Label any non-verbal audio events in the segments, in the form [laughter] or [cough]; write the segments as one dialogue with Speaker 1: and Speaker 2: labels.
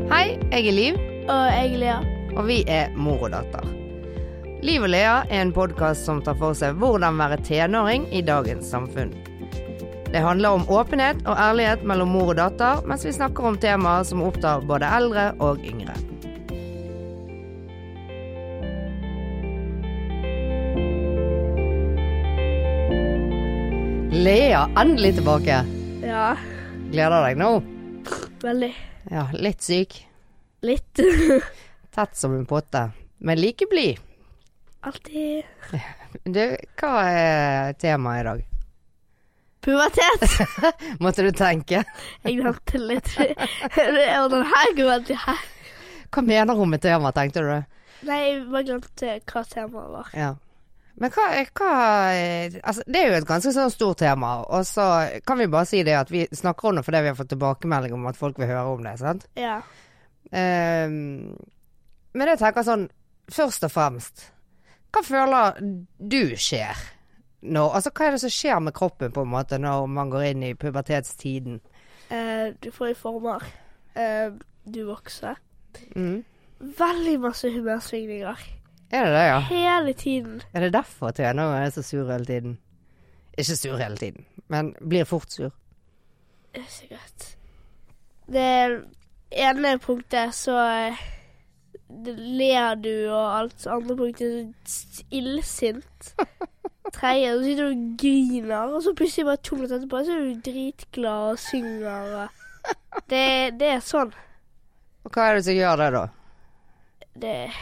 Speaker 1: Jeg er Liv,
Speaker 2: Og jeg, Lea.
Speaker 1: og vi er mor og datter. Liv og Lea er en podkast som tar for seg hvordan være tenåring i dagens samfunn. Det handler om åpenhet og ærlighet mellom mor og datter, mens vi snakker om temaer som opptar både eldre og yngre. Lea, endelig tilbake.
Speaker 2: Ja,
Speaker 1: Gleder deg nå.
Speaker 2: veldig.
Speaker 1: Ja, litt syk.
Speaker 2: Litt.
Speaker 1: Tett som en potte, men like blid.
Speaker 2: [laughs] Alltid
Speaker 1: Du, hva er temaet i dag?
Speaker 2: [laughs] pubertet.
Speaker 1: Måtte du tenke?
Speaker 2: Jeg glemte litt. Det er jo den her grunnen til her.
Speaker 1: Hva mener hun med tema, tenkte du?
Speaker 2: Nei, jeg bare glemte hva temaet var.
Speaker 1: Ja. Men hva, hva Altså, det er jo et ganske sånn stort tema, og så kan vi bare si det at vi snakker om det fordi vi har fått tilbakemelding om at folk vil høre om det, sant?
Speaker 2: Ja.
Speaker 1: Ehm, men jeg tenker sånn, først og fremst, hva føler du skjer nå? Altså, hva er det som skjer med kroppen, på en måte, når man går inn i pubertetstiden?
Speaker 2: Eh, du får i former. Eh, du vokser.
Speaker 1: Mm.
Speaker 2: Veldig masse humørsvingninger.
Speaker 1: Er det det, ja?
Speaker 2: Hele tiden.
Speaker 1: Er det derfor treneren er så sur hele tiden? Ikke sur hele tiden, men blir fort sur.
Speaker 2: Det er sikkert. Det ene punktet så eh, det ler du, og alt andre punktet så illsint.
Speaker 1: [laughs]
Speaker 2: Tredje, så sitter du og griner, og så plutselig bare to minutter etterpå så er du dritglad og synger. Og det, det er sånn.
Speaker 1: Og hva er det som gjør det, da?
Speaker 2: Det er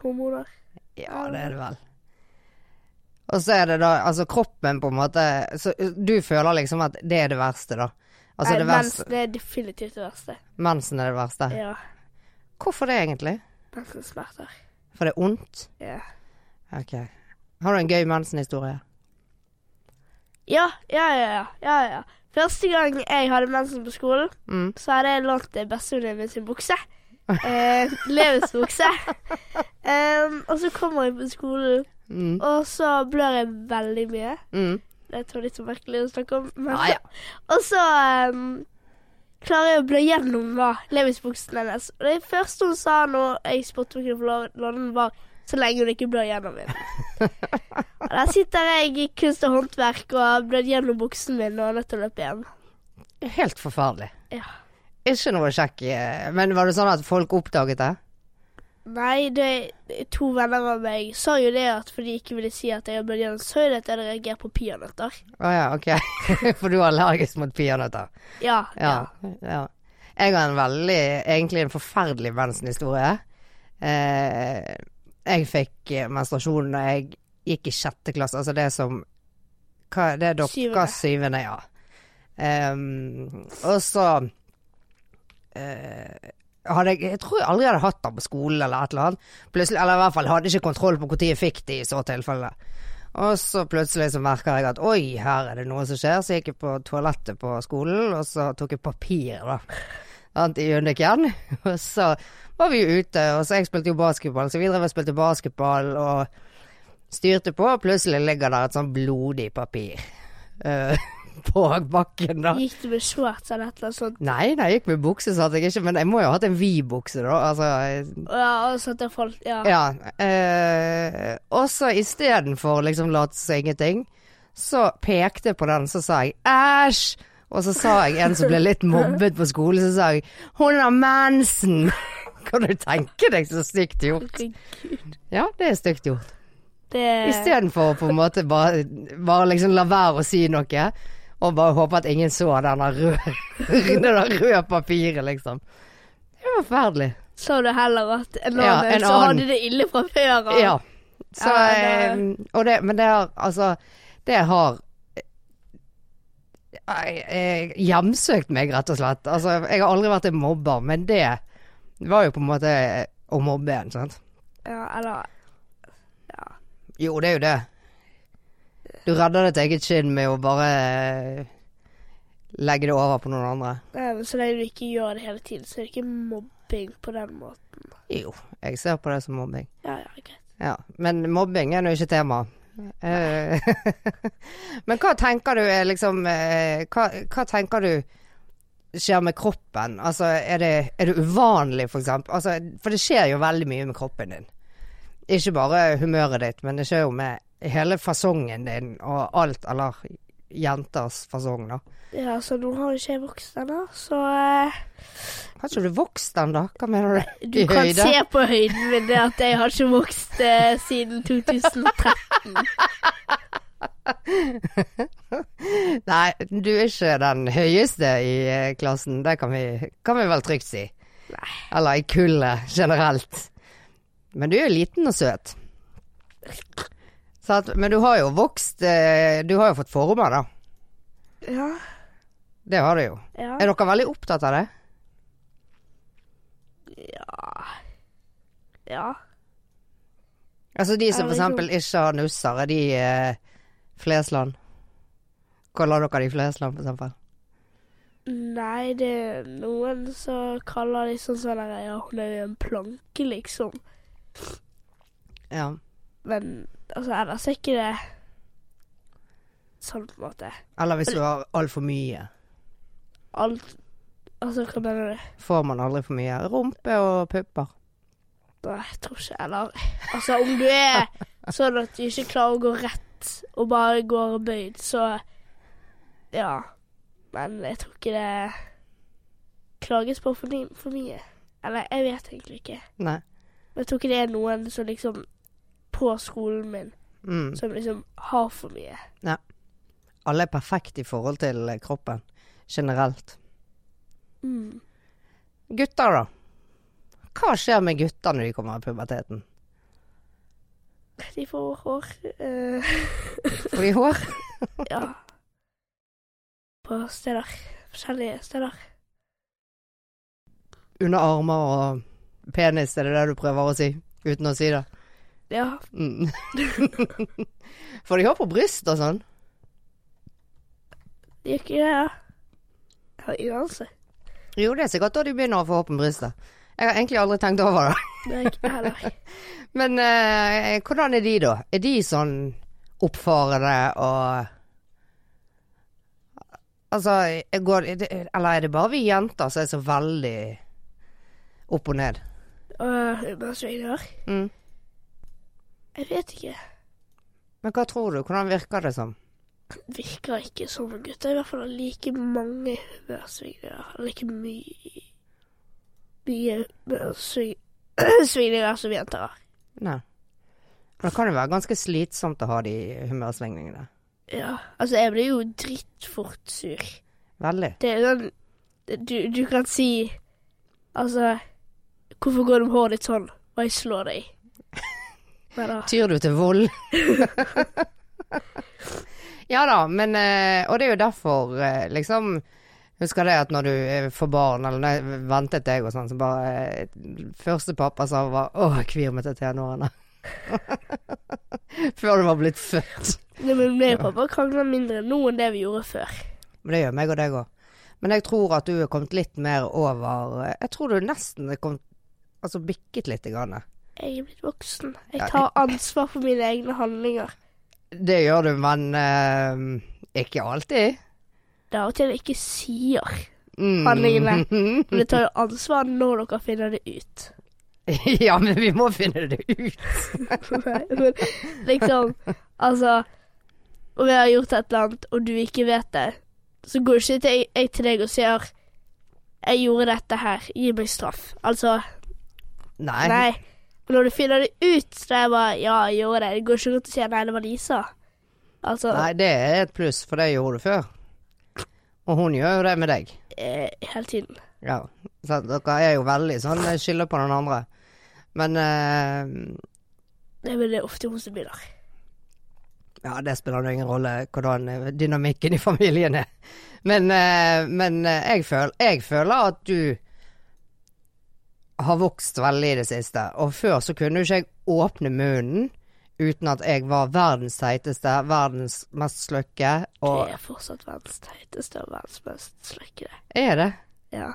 Speaker 2: hormoner.
Speaker 1: Ja, det er det vel. Og så er det da altså kroppen, på en måte så Du føler liksom at det er det verste, da. Altså det
Speaker 2: Nei,
Speaker 1: verste,
Speaker 2: Mensen er definitivt det verste.
Speaker 1: mensen er det verste.
Speaker 2: Ja.
Speaker 1: Hvorfor det, egentlig?
Speaker 2: Mensensmerter.
Speaker 1: For det er ondt?
Speaker 2: Ja.
Speaker 1: Ok. Har du en gøy mensenhistorie?
Speaker 2: Ja, ja, ja, ja, ja, ja. Første gang jeg hadde mensen på skolen,
Speaker 1: Mm.
Speaker 2: så hadde jeg lånt eh, bestevenninnen min sin bukse. Eh, Levis bukse. Em, og så kommer jeg på skolen,
Speaker 1: Mm.
Speaker 2: og så blør jeg veldig mye.
Speaker 1: Mm.
Speaker 2: Det tror jeg er litt så merkelig å snakke om. Men,
Speaker 1: Ja, ja.
Speaker 2: Og så em, klarer jeg å blø gjennom da, Levis-buksen hennes. Og det første hun sa når jeg spurte om hun kunne få lå- låne den, var så lenge hun ikke blør gjennom min.
Speaker 1: [laughs]
Speaker 2: Og der sitter jeg i kunst og håndverk og har blødd gjennom buksen min og er nødt til å løpe hjem.
Speaker 1: Helt forferdelig.
Speaker 2: Ja.
Speaker 1: Ikke noe kjekk eh, Men var det sånn at folk oppdaget det?
Speaker 2: Nei, det to venner av meg sa jo det at fordi de ikke ville si at jeg hadde blødd gjennom, så er det at jeg hadde reagert på peanøtter.
Speaker 1: Å ja, ok. [laughs] For du er allergisk mot peanøtter.
Speaker 2: Ja, ja.
Speaker 1: Ja, ja. Jeg har en veldig, egentlig en forferdelig mensenhistorie. Eh, jeg fikk eh, menstruasjon da jeg gikk i sjette klasse, altså det som hva, Det er dere
Speaker 2: Syvende.
Speaker 1: syvende, ja. Ehm, og så eh, hadde jeg, jeg tror jeg aldri hadde hatt den på skolen eller et eller annet. Plutselig, eller i hvert fall hadde ikke kontroll på når jeg fikk de i så tilfelle. Og så plutselig så merker jeg at oi, her er det noe som skjer. Så gikk jeg på toalettet på skolen, og så tok jeg papir, da. Sant, I Undiken. [laughs] Og så var vi jo ute, og så jeg spilte jo basketball, så vi drev og spilte basketball og styrte på, og plutselig ligger der et sånn blodig papir eh, [laughs] på bakken, da.
Speaker 2: Gikk du med shorts eller et eller annet sånt?
Speaker 1: Nei, nei, jeg gikk med bukse, satt jeg ikke, men jeg må jo ha hatt en vid bukse, da. Altså,
Speaker 2: Og Ja, og sånt der folk Ja.
Speaker 1: ja. Eh, og så istedenfor liksom late som ingenting, så pekte jeg på den, så sa jeg æsj. Og så sa jeg en som ble litt mobbet på skolen, så sa jeg hun har mensen. [laughs] Kan du tenke deg så stygt gjort? Ja, det er stygt gjort.
Speaker 2: Det
Speaker 1: Istedenfor å på en måte bare, bare liksom la være å si noe, og bare håpe at ingen så denne røde, [laughs] det der røde papiret, liksom. Det var forferdelig.
Speaker 2: Så du heller at en
Speaker 1: Ja,
Speaker 2: annen
Speaker 1: en
Speaker 2: så
Speaker 1: annen.
Speaker 2: hadde det ille fra før av?
Speaker 1: Ja. Så,
Speaker 2: Ja, det-
Speaker 1: eh, og det, men det har altså Det har eh, eh, hjemsøkt meg, rett og slett. Altså, jeg har aldri vært en mobber, men det var jo på en måte eh, å mobbe en, sant.
Speaker 2: ja eller
Speaker 1: Jo, det er jo det. Du redder ditt eget skinn med å bare eh, legge det over på noen andre.
Speaker 2: Nei, men Så lenge du ikke gjør det hele tiden, så er det ikke mobbing på den måten.
Speaker 1: Jo, jeg ser på det som mobbing.
Speaker 2: Ja, ja, greit.
Speaker 1: Ja, Men mobbing er nå ikke tema. Eh, [laughs] men hva tenker du er liksom eh, hva, hva tenker du skjer med kroppen? Altså, er det, er det uvanlig, for eksempel? Altså, for det skjer jo veldig mye med kroppen din. Ikke bare humøret ditt, men det skjer jo med hele fasongen din og alt, eller jenters fasong, da.
Speaker 2: Ja, så nå har ikke jeg vokst ennå, så eh,
Speaker 1: Har ikke du vokst ennå? Hva mener du?
Speaker 2: Du
Speaker 1: I
Speaker 2: kan
Speaker 1: høyde?
Speaker 2: se på høyden min det at jeg har ikke vokst eh,
Speaker 1: [laughs]
Speaker 2: siden 2013.
Speaker 1: Nei, du er ikke den høyeste i eh, klassen, det kan vi, kan vi vel trygt si.
Speaker 2: Nei.
Speaker 1: Eller i kullet generelt. Men du er jo liten og søt. Sant? men du har jo vokst eh, Du har jo fått former, da.
Speaker 2: Ja,
Speaker 1: Det har du jo.
Speaker 2: ja.
Speaker 1: Er dere veldig opptatt av det?
Speaker 2: ja.
Speaker 1: Altså de som for
Speaker 2: Jeg vet
Speaker 1: eksempel ikke har nusser, er de eh, Flesland? Kaller dere de Flesland, for eksempel?
Speaker 2: Nei, det er noen som kaller de sånn sånn der, ja, hun er jo en planke, liksom.
Speaker 1: Ja.
Speaker 2: Men altså, ellers er ikke det sånn på en måte.
Speaker 1: Eller hvis du har altfor mye.
Speaker 2: Alt Altså, hva mener du?
Speaker 1: Får man aldri for mye rumpe og pupper.
Speaker 2: Nei, jeg tror ikke Eller altså, om du er sånn at du ikke klarer å gå rett og bare går bøyd, så Ja. Men jeg tror ikke det klages på for, mye- for mye. Eller jeg vet egentlig ikke.
Speaker 1: Nei.
Speaker 2: Men jeg tror ikke det er noen som liksom På skolen min
Speaker 1: Mm.
Speaker 2: som liksom har for mye.
Speaker 1: Alle er perfekte i forhold til eh, kroppen generelt.
Speaker 2: Mm.
Speaker 1: Gutter, da? Hva skjer med gutter når de kommer i puberteten?
Speaker 2: De får hår. eh,
Speaker 1: Får de hår?
Speaker 2: Ja. På steder. Forskjellige steder.
Speaker 1: Under armer og penis, er det det du prøver å si? Uten å si det?
Speaker 2: Ja.
Speaker 1: Mm. [laughs] Får de hår på bryst og sånn?
Speaker 2: Det gikk jo det. Jeg har ingen anelse.
Speaker 1: Jo, det er sikkert da de begynner å få håp om brystet. Jeg har egentlig aldri tenkt over det.
Speaker 2: Det er ikke jeg heller.
Speaker 1: Men eh, hvordan er de, da? Er de sånn oppfarende og Altså, jeg går, er det- eller er det bare vi jenter som er så veldig opp og ned?
Speaker 2: Og eh, humørsvinger.
Speaker 1: Mm.
Speaker 2: Jeg vet ikke.
Speaker 1: Men hva tror du? Hvordan virker det som?
Speaker 2: Virker ikke som en gutt. Det er I hvert fall like mange humørsvingninger. Like mye Mye [clears throat] humørsvingninger som jenter har.
Speaker 1: Nei. Men det kan jo være ganske slitsomt å ha de humørsvingningene.
Speaker 2: Ja. Altså, jeg blir jo drittfort sur.
Speaker 1: Veldig.
Speaker 2: Det er sånn du, du kan si Altså Hvorfor går du med håret ditt sånn? Og jeg slår deg. Men da
Speaker 1: Tyr du til vold? [laughs] ja da, men eh, Og det er jo derfor, eh, liksom Husker det at når du eh, får barn, eller når jeg ventet deg og sånn, så bare eh, Første pappa sa var 'Å, jeg kvir meg til tenårene'. [laughs] Før du var blitt født.
Speaker 2: Nei, men meg og pappa krangler mindre nå enn det vi gjorde før.
Speaker 1: Men det gjør meg og deg òg. Men jeg tror at du er kommet litt mer over eh, Jeg tror du nesten er kommet Altså bikket lite grann.
Speaker 2: Jeg er blitt voksen.
Speaker 1: Ja,
Speaker 2: Jeg tar ansvar for mine egne handlinger.
Speaker 1: Det gjør du, men eh, ikke alltid.
Speaker 2: Det er av og til jeg ikke sier.
Speaker 1: Mm. [laughs]
Speaker 2: Handlingene. Men jeg tar jo ansvar når dere finner det ut.
Speaker 1: [laughs] ja, men vi må finne det ut.
Speaker 2: Nei, men liksom Altså Om jeg har gjort et eller annet, og du ikke vet det, så går ikke til jeg, jeg til deg og sier 'Jeg gjorde dette her. Gi meg straff.' Altså,
Speaker 1: Nei.
Speaker 2: nei. Men når du finner det ut, så er jeg bare 'Ja, jeg gjorde det.' Det går ikke rundt og sier 'Nei, det var Lisa'. Altså
Speaker 1: Nei, det er et pluss, for det gjorde du før. Og hun gjør jo det med deg.
Speaker 2: eh, hele tiden.
Speaker 1: Ja. Så dere er jo veldig sånn eh, skylder på den andre. Men eh,
Speaker 2: Nei, men det er ofte hun som begynner.
Speaker 1: Ja, det spiller nå ingen rolle hvordan eh, dynamikken i familien er. Men, eh, men eh, jeg, føl, jeg føler at du har vokst veldig i det siste. Og før så kunne jo ikke jeg åpne munnen uten at jeg var verdens teiteste, verdens mest sløkke,
Speaker 2: Det
Speaker 1: og
Speaker 2: er fortsatt verdens teiteste og verdens mest sløkkede.
Speaker 1: Er det?
Speaker 2: Ja.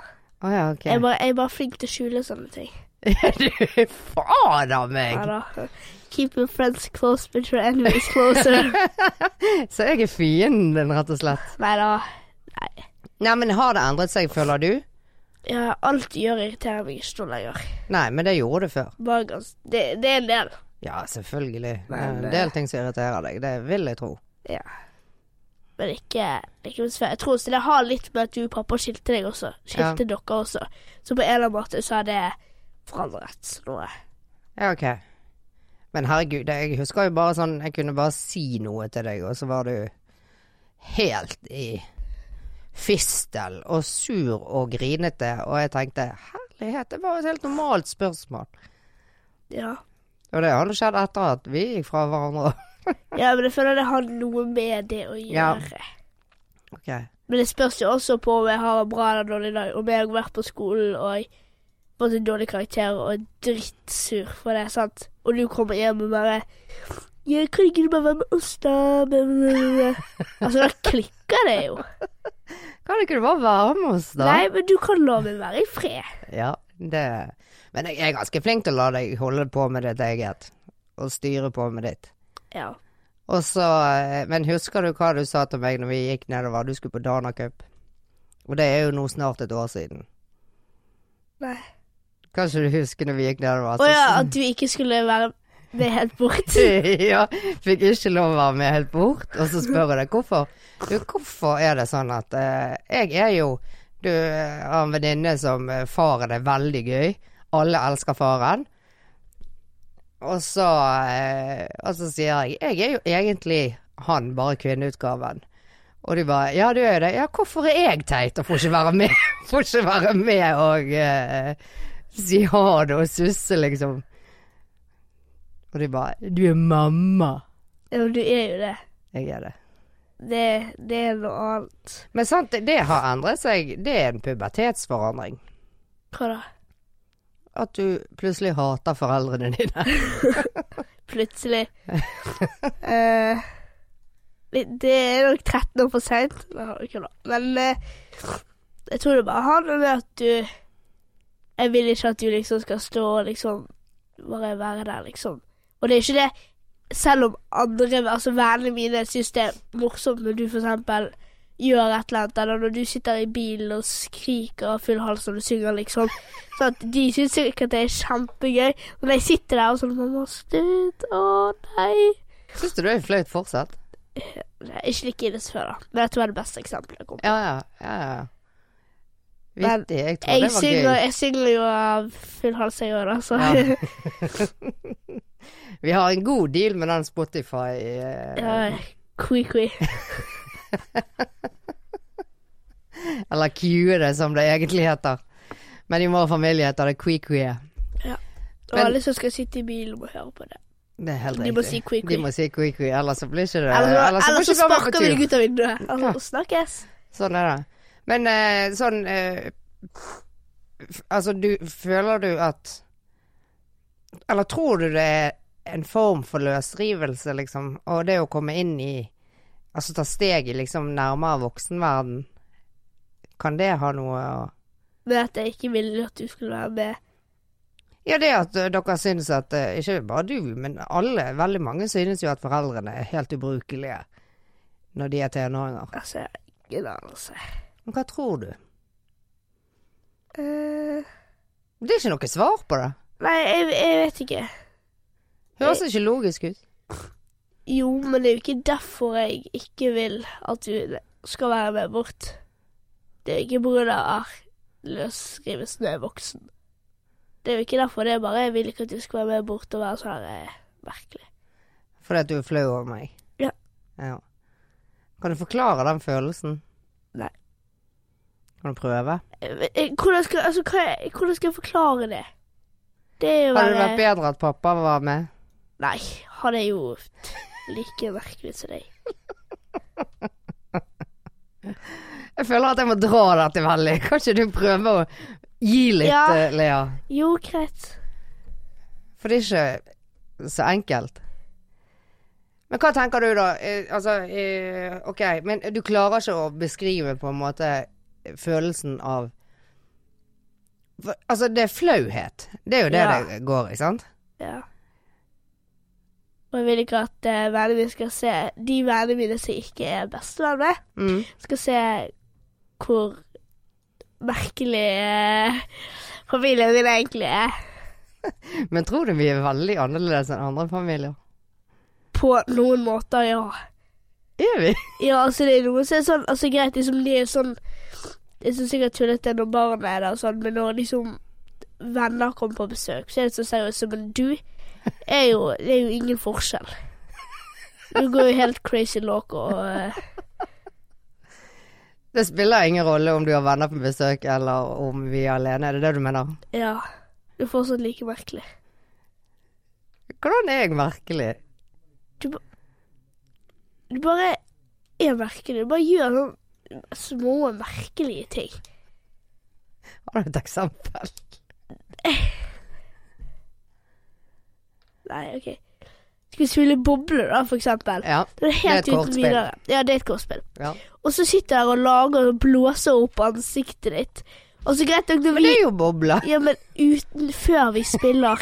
Speaker 1: Å ja, ok.
Speaker 2: Jeg, er bare, jeg er bare flink til å skjule sånne ting.
Speaker 1: [laughs] Du, fader meg! [laughs]
Speaker 2: Ja da. Keep your friends close, but your enemies closer. ah,
Speaker 1: Så jeg er fienden din, rett og slett.
Speaker 2: Nei da.
Speaker 1: Nei, men har det endret seg, føler du?
Speaker 2: Ja, alt gjør irriterer meg ikke nå lenger.
Speaker 1: Nei, men det gjorde det før.
Speaker 2: Bare gans... det, det er en del.
Speaker 1: Ja, selvfølgelig. Det er
Speaker 2: Men,
Speaker 1: en
Speaker 2: eh,
Speaker 1: del ting som irriterer deg, det vil jeg tro.
Speaker 2: Men ikke, ikke noe svært. Jeg tror også det har litt med at du og pappa skilte deg også. Skilte dere også. Så på en eller annen måte så har det forandret noe.
Speaker 1: Ja, ok. Men herregud, det- jeg husker jo bare sånn Jeg kunne bare si noe til deg, og så var du helt i fistel og sur og grinete, og jeg tenkte herlighet, det var jo et helt normalt spørsmål.
Speaker 2: Ja.
Speaker 1: Og det har jo skjedd etter at vi gikk fra hverandre. [laughs]
Speaker 2: ja, men jeg føler det har noe med det å
Speaker 1: Ja.
Speaker 2: gjøre.
Speaker 1: Ok.
Speaker 2: Men det spørs jo også på om jeg har en bra eller dårlig dag. Om jeg har vært på skolen og fått en dårlig karakter og er drittsur for det, sant. Og du kommer hjem og bare ja, 'Kan ikke du bare være med oss, da?' Blablabla. Altså, da klikker det jo.
Speaker 1: Kan ikke du bare være med oss, da?
Speaker 2: Nei, men du kan la meg være i fred.
Speaker 1: Ja, det Men jeg er ganske flink til å la deg holde på med ditt eget, og styre på med ditt.
Speaker 2: Ja.
Speaker 1: Og så, eh, men husker du hva du sa til meg når vi gikk nedover? Du skulle på Dana Cup. Og det er jo nå snart et år siden.
Speaker 2: Nei.
Speaker 1: Kanskje du husker når vi gikk nedover?
Speaker 2: Å ja, at du ikke skulle være med helt bort.
Speaker 1: [laughs] ja. Fikk ikke lov å være med helt bort. Og så spør jeg deg hvorfor. Du, hvorfor er det sånn at eh, Jeg er jo Du eh, har en venninne som eh, faren er veldig gøy. Alle elsker faren. Og så, eh, og så sier jeg Jeg er jo egentlig han, bare kvinneutgaven. Og du bare Ja, du er det. Ja, hvorfor er jeg teit og får ikke være med? [laughs] får ikke være med og eh, si ha det og susse, liksom. Og de bare 'Du er mamma'.
Speaker 2: Ja, men du er jo det.
Speaker 1: Jeg er det.
Speaker 2: Det, det er noe annet.
Speaker 1: Men sant, det- det har endret seg. Det er en pubertetsforandring.
Speaker 2: Hva da?
Speaker 1: At du plutselig hater foreldrene dine. [laughs]
Speaker 2: Plutselig. [laughs] Eh, det er nok 13 år for seint. Men eh, jeg tror det bare handler med at du Jeg vil ikke at du liksom skal stå og liksom bare være der, liksom. Og det er ikke det Selv om andre, altså vennene mine, syns det er morsomt når du for eksempel gjør et eller annet, eller når du sitter i bilen og skriker av full hals når du synger, liksom. Så at de syns sikkert det er kjempegøy. Og når jeg sitter der og sånn Mamma, slutt. Å, nei.
Speaker 1: Syns du det er flaut fortsatt?
Speaker 2: Nei, Ikke like ille som før, da. Men jeg tror det er det beste eksempelet jeg kom på.
Speaker 1: Ja, ja. ja, ja.
Speaker 2: Men
Speaker 1: Vittig. Jeg tror
Speaker 2: Jeg
Speaker 1: det var
Speaker 2: synger,
Speaker 1: gøy.
Speaker 2: jeg synger jo av full hals, altså. jeg òg, da, så
Speaker 1: Ja. Vi har en god deal med den Spotify. eh,
Speaker 2: [laughs] ja. Kui-kui.
Speaker 1: Eller Q, det som det egentlig heter. Men i vår familie heter det Queequee.
Speaker 2: Og
Speaker 1: Men-
Speaker 2: alle som skal sitte i bilen, må høre på det.
Speaker 1: Det er helt
Speaker 2: De må
Speaker 1: riktig.
Speaker 2: si Queequee.
Speaker 1: De må si Queequee, ellers så blir ikke det
Speaker 2: Eller,
Speaker 1: ellers så
Speaker 2: eller
Speaker 1: får
Speaker 2: så
Speaker 1: ikke vi være på
Speaker 2: sparker vi
Speaker 1: tur.
Speaker 2: deg ut av vinduet.
Speaker 1: Ja.
Speaker 2: Altså, snakkes.
Speaker 1: Sånn er det. Men eh, sånn eh, f- Altså, du Føler du at Eller tror du det er en form for løsrivelse, liksom? Og det å komme inn i Altså ta steget liksom nærmere voksenverden. Kan det ha noe å
Speaker 2: Men at jeg ikke ville at du skulle være med.
Speaker 1: Ja, det at eh, dere synes at eh, Ikke bare du, men alle, veldig mange synes jo at foreldrene er helt ubrukelige når de er tenåringer.
Speaker 2: Altså, jeg har ingen anelse.
Speaker 1: Men hva tror du?
Speaker 2: Eh,
Speaker 1: Det er ikke noe svar på det.
Speaker 2: nei, jeg, jeg vet ikke.
Speaker 1: Høres ikke logisk ut.
Speaker 2: Jo, men det er jo ikke derfor jeg ikke vil at du skal være med bort. Det er jo ikke pga. løsrivelsen når jeg er voksen. Det er jo ikke derfor. Det er bare jeg vil ikke at du skal være med bort og være sånn her eh, merkelig.
Speaker 1: Fordi at du er flau over meg?
Speaker 2: Ja.
Speaker 1: Ja. Kan du forklare den følelsen?
Speaker 2: Nei.
Speaker 1: Kan du prøve?
Speaker 2: Eh, eh, Hvordan skal, altså, hva, hvordan skal jeg forklare det? Det eh, er jo
Speaker 1: Hadde det
Speaker 2: bare
Speaker 1: vært bedre at pappa var med?
Speaker 2: Nei, han er jo like merkelig som deg.
Speaker 1: Jeg føler at jeg må dra dette veldig. Kan ikke du prøve å gi litt,
Speaker 2: Ja.
Speaker 1: eh, Lea?
Speaker 2: Jo, greit.
Speaker 1: For det er ikke så enkelt. Men hva tenker du da? Eh, altså, eh, ok, men du klarer ikke å beskrive på en måte følelsen av For, Altså, det er flauhet. Det er jo det
Speaker 2: Ja.
Speaker 1: det går i, sant?
Speaker 2: Ja. Og jeg vil ikke at eh, vennene mine skal se De vennene mine som ikke er bestevenner
Speaker 1: Mm.
Speaker 2: skal se hvor merkelig eh, familien din egentlig er.
Speaker 1: Men tror du vi er veldig annerledes enn andre familier?
Speaker 2: På noen måter, ja.
Speaker 1: Er vi?
Speaker 2: Ja, altså det er noe som er sånn Altså greit, liksom de er sånn Jeg syns sikkert tullete når barna er der og sånn, men når liksom venner kommer på besøk, så er det så seriøst. Så, Men du er jo Det er jo ingen forskjell. Du går jo helt crazy loco og eh,
Speaker 1: Det spiller ingen rolle om du har venner på besøk eller om vi er alene, er det det du mener?
Speaker 2: Ja. Du er fortsatt like merkelig.
Speaker 1: Hvordan er jeg merkelig?
Speaker 2: Du bare er merkelig. Du bare gjør sånn små, merkelige ting.
Speaker 1: Har du et eksempel?
Speaker 2: Nei, OK. Skal vi spille boble, da, for eksempel?
Speaker 1: Ja.
Speaker 2: Det er helt
Speaker 1: Det er et
Speaker 2: uten
Speaker 1: kortspill.
Speaker 2: videre. Ja, det er et kortspill.
Speaker 1: ja.
Speaker 2: Og så sitter der og lager og blåser opp ansiktet ditt. Og så greit nok når
Speaker 1: Men
Speaker 2: vi
Speaker 1: det er jo boble.
Speaker 2: Ja, men uten Før vi spiller.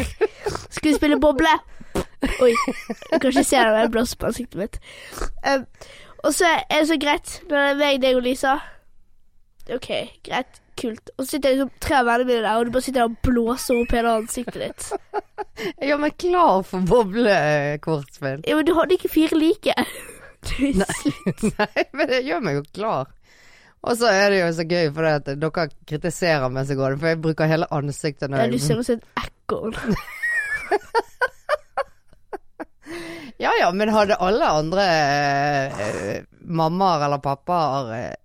Speaker 2: Skal vi spille boble? Oi. Du kan ikke se det, men jeg blåser på ansiktet mitt. Um, og så er det så greit når det er meg, deg og Lisa. OK, greit. Kult. Og så sitter liksom tre av vennene mine der, og du bare sitter der og blåser opp hele ansiktet ditt.
Speaker 1: Ja, men klar for boblekortspill.
Speaker 2: Ja, men du hadde ikke fire like. Du-
Speaker 1: [laughs] Nei, men det gjør meg jo klar. Og så er det jo så gøy, for at dere kritiserer meg så godt, for jeg bruker hele ansiktet
Speaker 2: Ja,
Speaker 1: når
Speaker 2: du
Speaker 1: jeg
Speaker 2: ser ut som et ekorn.
Speaker 1: Ja ja, men hadde alle andre eh, mammaer eller pappaer eh,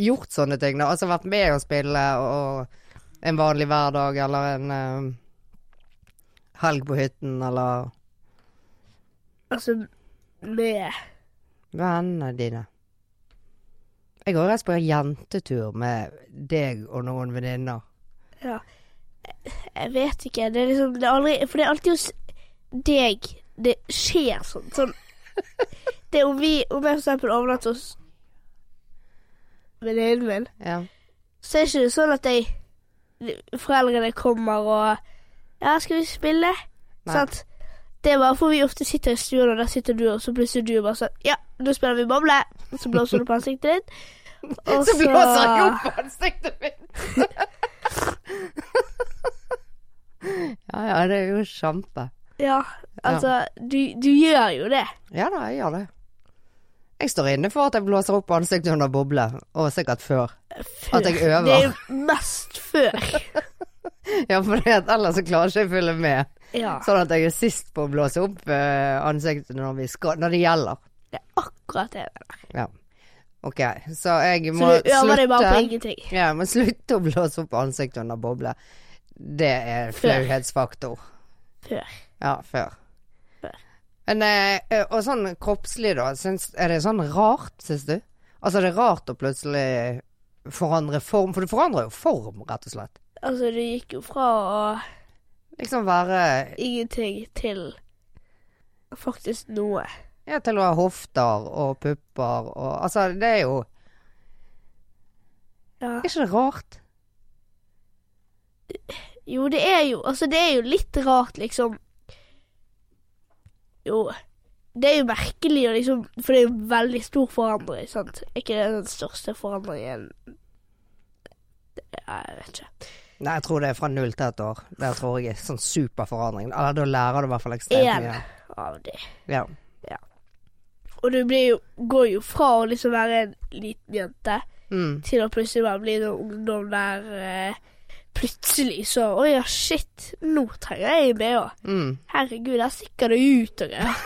Speaker 1: gjort sånne ting, da? Altså vært med å spille og en vanlig hverdag eller en eh, helg på hytten eller
Speaker 2: Altså, med
Speaker 1: vennene dine? Jeg har jo reist på en jentetur med deg og noen venninner.
Speaker 2: Ja. Jeg vet ikke. Det er liksom det er aldri, For det er alltid hos deg det skjer sånn. sånn. Det er om vi Om jeg for eksempel overnatter hos venninnen min,
Speaker 1: [laughs] Ja.
Speaker 2: så er ikke det sånn at jeg Foreldrene kommer og Ja, skal vi spille?
Speaker 1: Nei.
Speaker 2: Sant? Det er bare for vi ofte sitter i stuen, og der sitter du, og så plutselig du bare sånn Ja, nå spiller vi boble. Så blåser du på
Speaker 1: [laughs]
Speaker 2: ansiktet ditt. og
Speaker 1: Så blåser jeg opp ansiktet mitt! [laughs] ja ja, det er jo kjempe.
Speaker 2: Ja, altså Du, du gjør jo det.
Speaker 1: Ja da, jeg gjør det. Jeg står inne for at jeg blåser opp ansiktet under boble, og sikkert før. [laughs]
Speaker 2: før.
Speaker 1: At jeg øver.
Speaker 2: Det er jo mest
Speaker 1: [laughs]
Speaker 2: før.
Speaker 1: Ja, for det at ellers så klarer ikke jeg å følge med.
Speaker 2: Ja.
Speaker 1: Sånn at jeg er sist på å blåse opp eh, ansiktet når, vi skal, når det gjelder.
Speaker 2: Det er akkurat det.
Speaker 1: Ja. Ok, så jeg
Speaker 2: Så
Speaker 1: må
Speaker 2: du øver deg bare på
Speaker 1: slutte
Speaker 2: ingenting.
Speaker 1: Ja, jeg må slutte å blåse opp ansiktet under boble. Det er
Speaker 2: Før.
Speaker 1: flauhetsfaktor.
Speaker 2: Før.
Speaker 1: Ja, før.
Speaker 2: Før.
Speaker 1: Men, eh, og sånn kroppslig, da. Syns, er det sånn rart, syns du? Altså, det er rart å plutselig forandre form, for du forandrer jo form, rett og slett.
Speaker 2: Altså, du gikk jo fra å
Speaker 1: Liksom være
Speaker 2: ingenting til faktisk noe.
Speaker 1: ja, til å ha hofter og pupper og Altså, det er jo
Speaker 2: Ja.
Speaker 1: Er ikke det rart?
Speaker 2: Jo, det er jo Altså, det er jo litt rart, liksom. Jo. Det er jo merkelig, og liksom, for det er jo en veldig stor forandring. sant? Er ikke det den største forandringen Ja, jeg vet ikke.
Speaker 1: Nei, jeg tror det er fra null til ett år. Der tror jeg er sånn superforandring. Eller da lærer du i hvert fall ekstremt
Speaker 2: Én
Speaker 1: mye.
Speaker 2: av de.
Speaker 1: Ja.
Speaker 2: Og du blir jo, går jo fra å liksom være en liten jente
Speaker 1: Mm.
Speaker 2: til å plutselig bare bli en ungdom der eh, plutselig så Å ja, shit, nå trenger jeg en bh.
Speaker 1: Mm.
Speaker 2: Herregud, der stikker det ut og greier.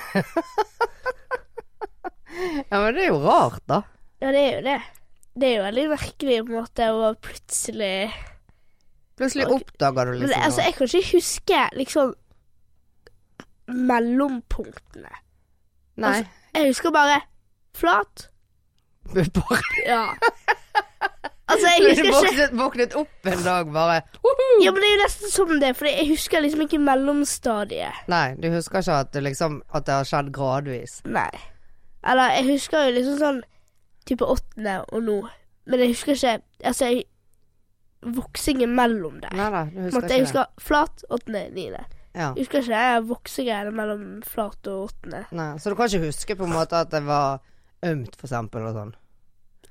Speaker 1: Ja, men det er jo rart, da.
Speaker 2: Ja, det er jo det. Det er jo veldig merkelig på en måte å plutselig
Speaker 1: Plutselig
Speaker 2: Ok.
Speaker 1: oppdager du
Speaker 2: Men
Speaker 1: liksom
Speaker 2: altså,
Speaker 1: noe.
Speaker 2: jeg kan ikke huske liksom mellompunktene.
Speaker 1: Nei. [laughs]
Speaker 2: Jeg husker bare flat.
Speaker 1: Pupper.
Speaker 2: Ja. Altså, jeg
Speaker 1: Du
Speaker 2: husker ikke
Speaker 1: våknet, våknet opp en dag bare
Speaker 2: Ja, men det er jo nesten som det, for jeg husker liksom ikke mellomstadiet.
Speaker 1: Nei, du husker ikke at det liksom At det har skjedd gradvis.
Speaker 2: Nei. Eller jeg husker jo liksom sånn type åttende og nå, men jeg husker ikke Altså, jeg voksing imellom der.
Speaker 1: Nei da, du
Speaker 2: På en
Speaker 1: husker
Speaker 2: måte,
Speaker 1: ikke det.
Speaker 2: jeg husker flat, åttende, niende.
Speaker 1: Ja.
Speaker 2: Jeg husker ikke jeg voksegreiene mellom flat og åttende.
Speaker 1: Nei, så du kan ikke huske på en måte at det var ømt, for eksempel, og sånn.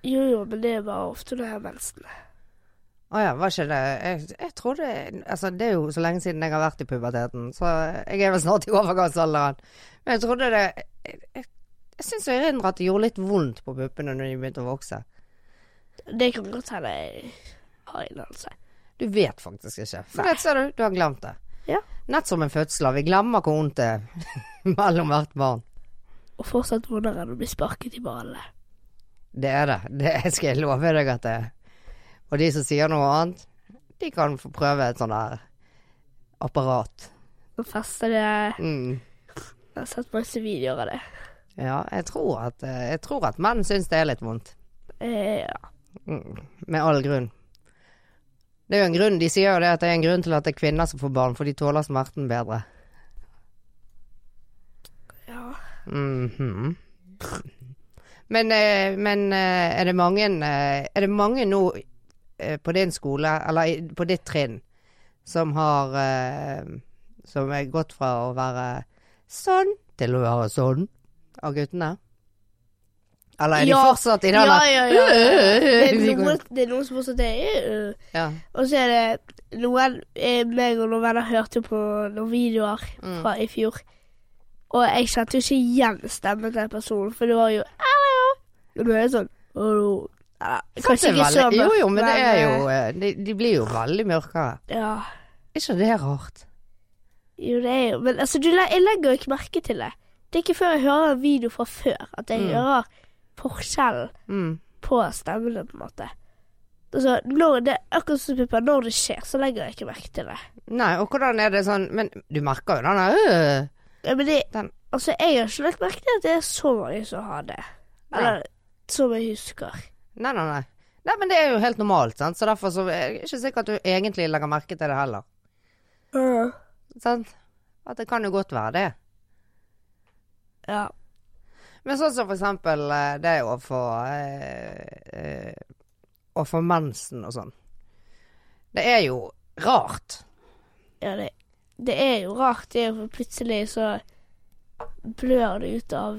Speaker 2: Jo, jo, men det er bare ofte når jeg har mensen.
Speaker 1: Å ja, var ikke det jeg, jeg trodde Altså, det er jo så lenge siden jeg har vært i puberteten, så jeg er vel snart i overgangsalderen. Men jeg trodde det Jeg, jeg, jeg syns jeg erindrer at det gjorde litt vondt på puppene når de begynte å vokse.
Speaker 2: Det kan godt hende jeg har innholdelse.
Speaker 1: Du vet faktisk ikke. For det ser du, du har glemt det.
Speaker 2: Ja.
Speaker 1: Nett som en fødsel. Vi glemmer hvor vondt det er [laughs] mellom hvert barn.
Speaker 2: Og fortsatt vondere enn å bli sparket i ballene.
Speaker 1: Det er det. Det skal jeg love deg at det er. Og de som sier noe annet, de kan få prøve et sånt der apparat.
Speaker 2: Nå fester det Jeg
Speaker 1: Mm.
Speaker 2: har sett masse videoer av det.
Speaker 1: Ja, jeg tror at, eh, jeg tror at menn syns det er litt vondt.
Speaker 2: Eh, ja.
Speaker 1: Mm. Med all grunn. Det er jo en grunn, De sier jo det at det er en grunn til at det er kvinner som får barn, for de tåler smerten bedre.
Speaker 2: ja.
Speaker 1: Mhm. Men, eh, men eh, er det mange eh, Er det mange nå eh, på din skole, eller i- på ditt trinn, som har eh, Som er gått fra å være sånn til å være sånn av guttene? Eller er de
Speaker 2: Ja.
Speaker 1: fortsatt i den
Speaker 2: Ja,
Speaker 1: der
Speaker 2: ja, ja.
Speaker 1: [laughs]
Speaker 2: Det er
Speaker 1: Vi går-
Speaker 2: noen, det er noen som fortsatt er eh,
Speaker 1: ja.
Speaker 2: Og så er det noen eh, meg og noen venner hørte på noen videoer
Speaker 1: Mm.
Speaker 2: fra i fjor. Og jeg kjente jo ikke igjen stemmen til personen, for det var jo Hallo! Det ble sånn Hallo. Ja,
Speaker 1: Det
Speaker 2: Kanskje
Speaker 1: er
Speaker 2: ikke så
Speaker 1: veldig- Jo, jo, men det er
Speaker 2: eh,
Speaker 1: jo eh, De, de blir jo veldig mørkere.
Speaker 2: Ja.
Speaker 1: Er ikke det rart?
Speaker 2: Jo, det er jo Men altså, du, le- jeg legger jo ikke merke til det. Det er ikke før jeg hører en video fra før at jeg
Speaker 1: Mm.
Speaker 2: hører forskjellen
Speaker 1: Mm.
Speaker 2: på stemmene, på en måte. Altså, når det, akkurat som Pippa, når det skjer, så legger jeg ikke merke til det.
Speaker 1: Nei, og hvordan er det sånn Men du merker jo den der øh,
Speaker 2: Ja, men det
Speaker 1: Den-
Speaker 2: Altså, jeg har ikke lagt merke til at det er så mange som har det. Eller som jeg husker.
Speaker 1: Nei, nei, nei. Nei, men det er jo helt normalt, sant? så derfor så er det ikke sikkert at du egentlig legger merke til det heller. Sant? At det kan jo godt være det.
Speaker 2: Ja.
Speaker 1: Men sånn som for eksempel eh, det å få eh, eh, Å få mensen og sånn. Det er jo rart.
Speaker 2: ja det, det er jo rart, det er jo for plutselig så blør det ut av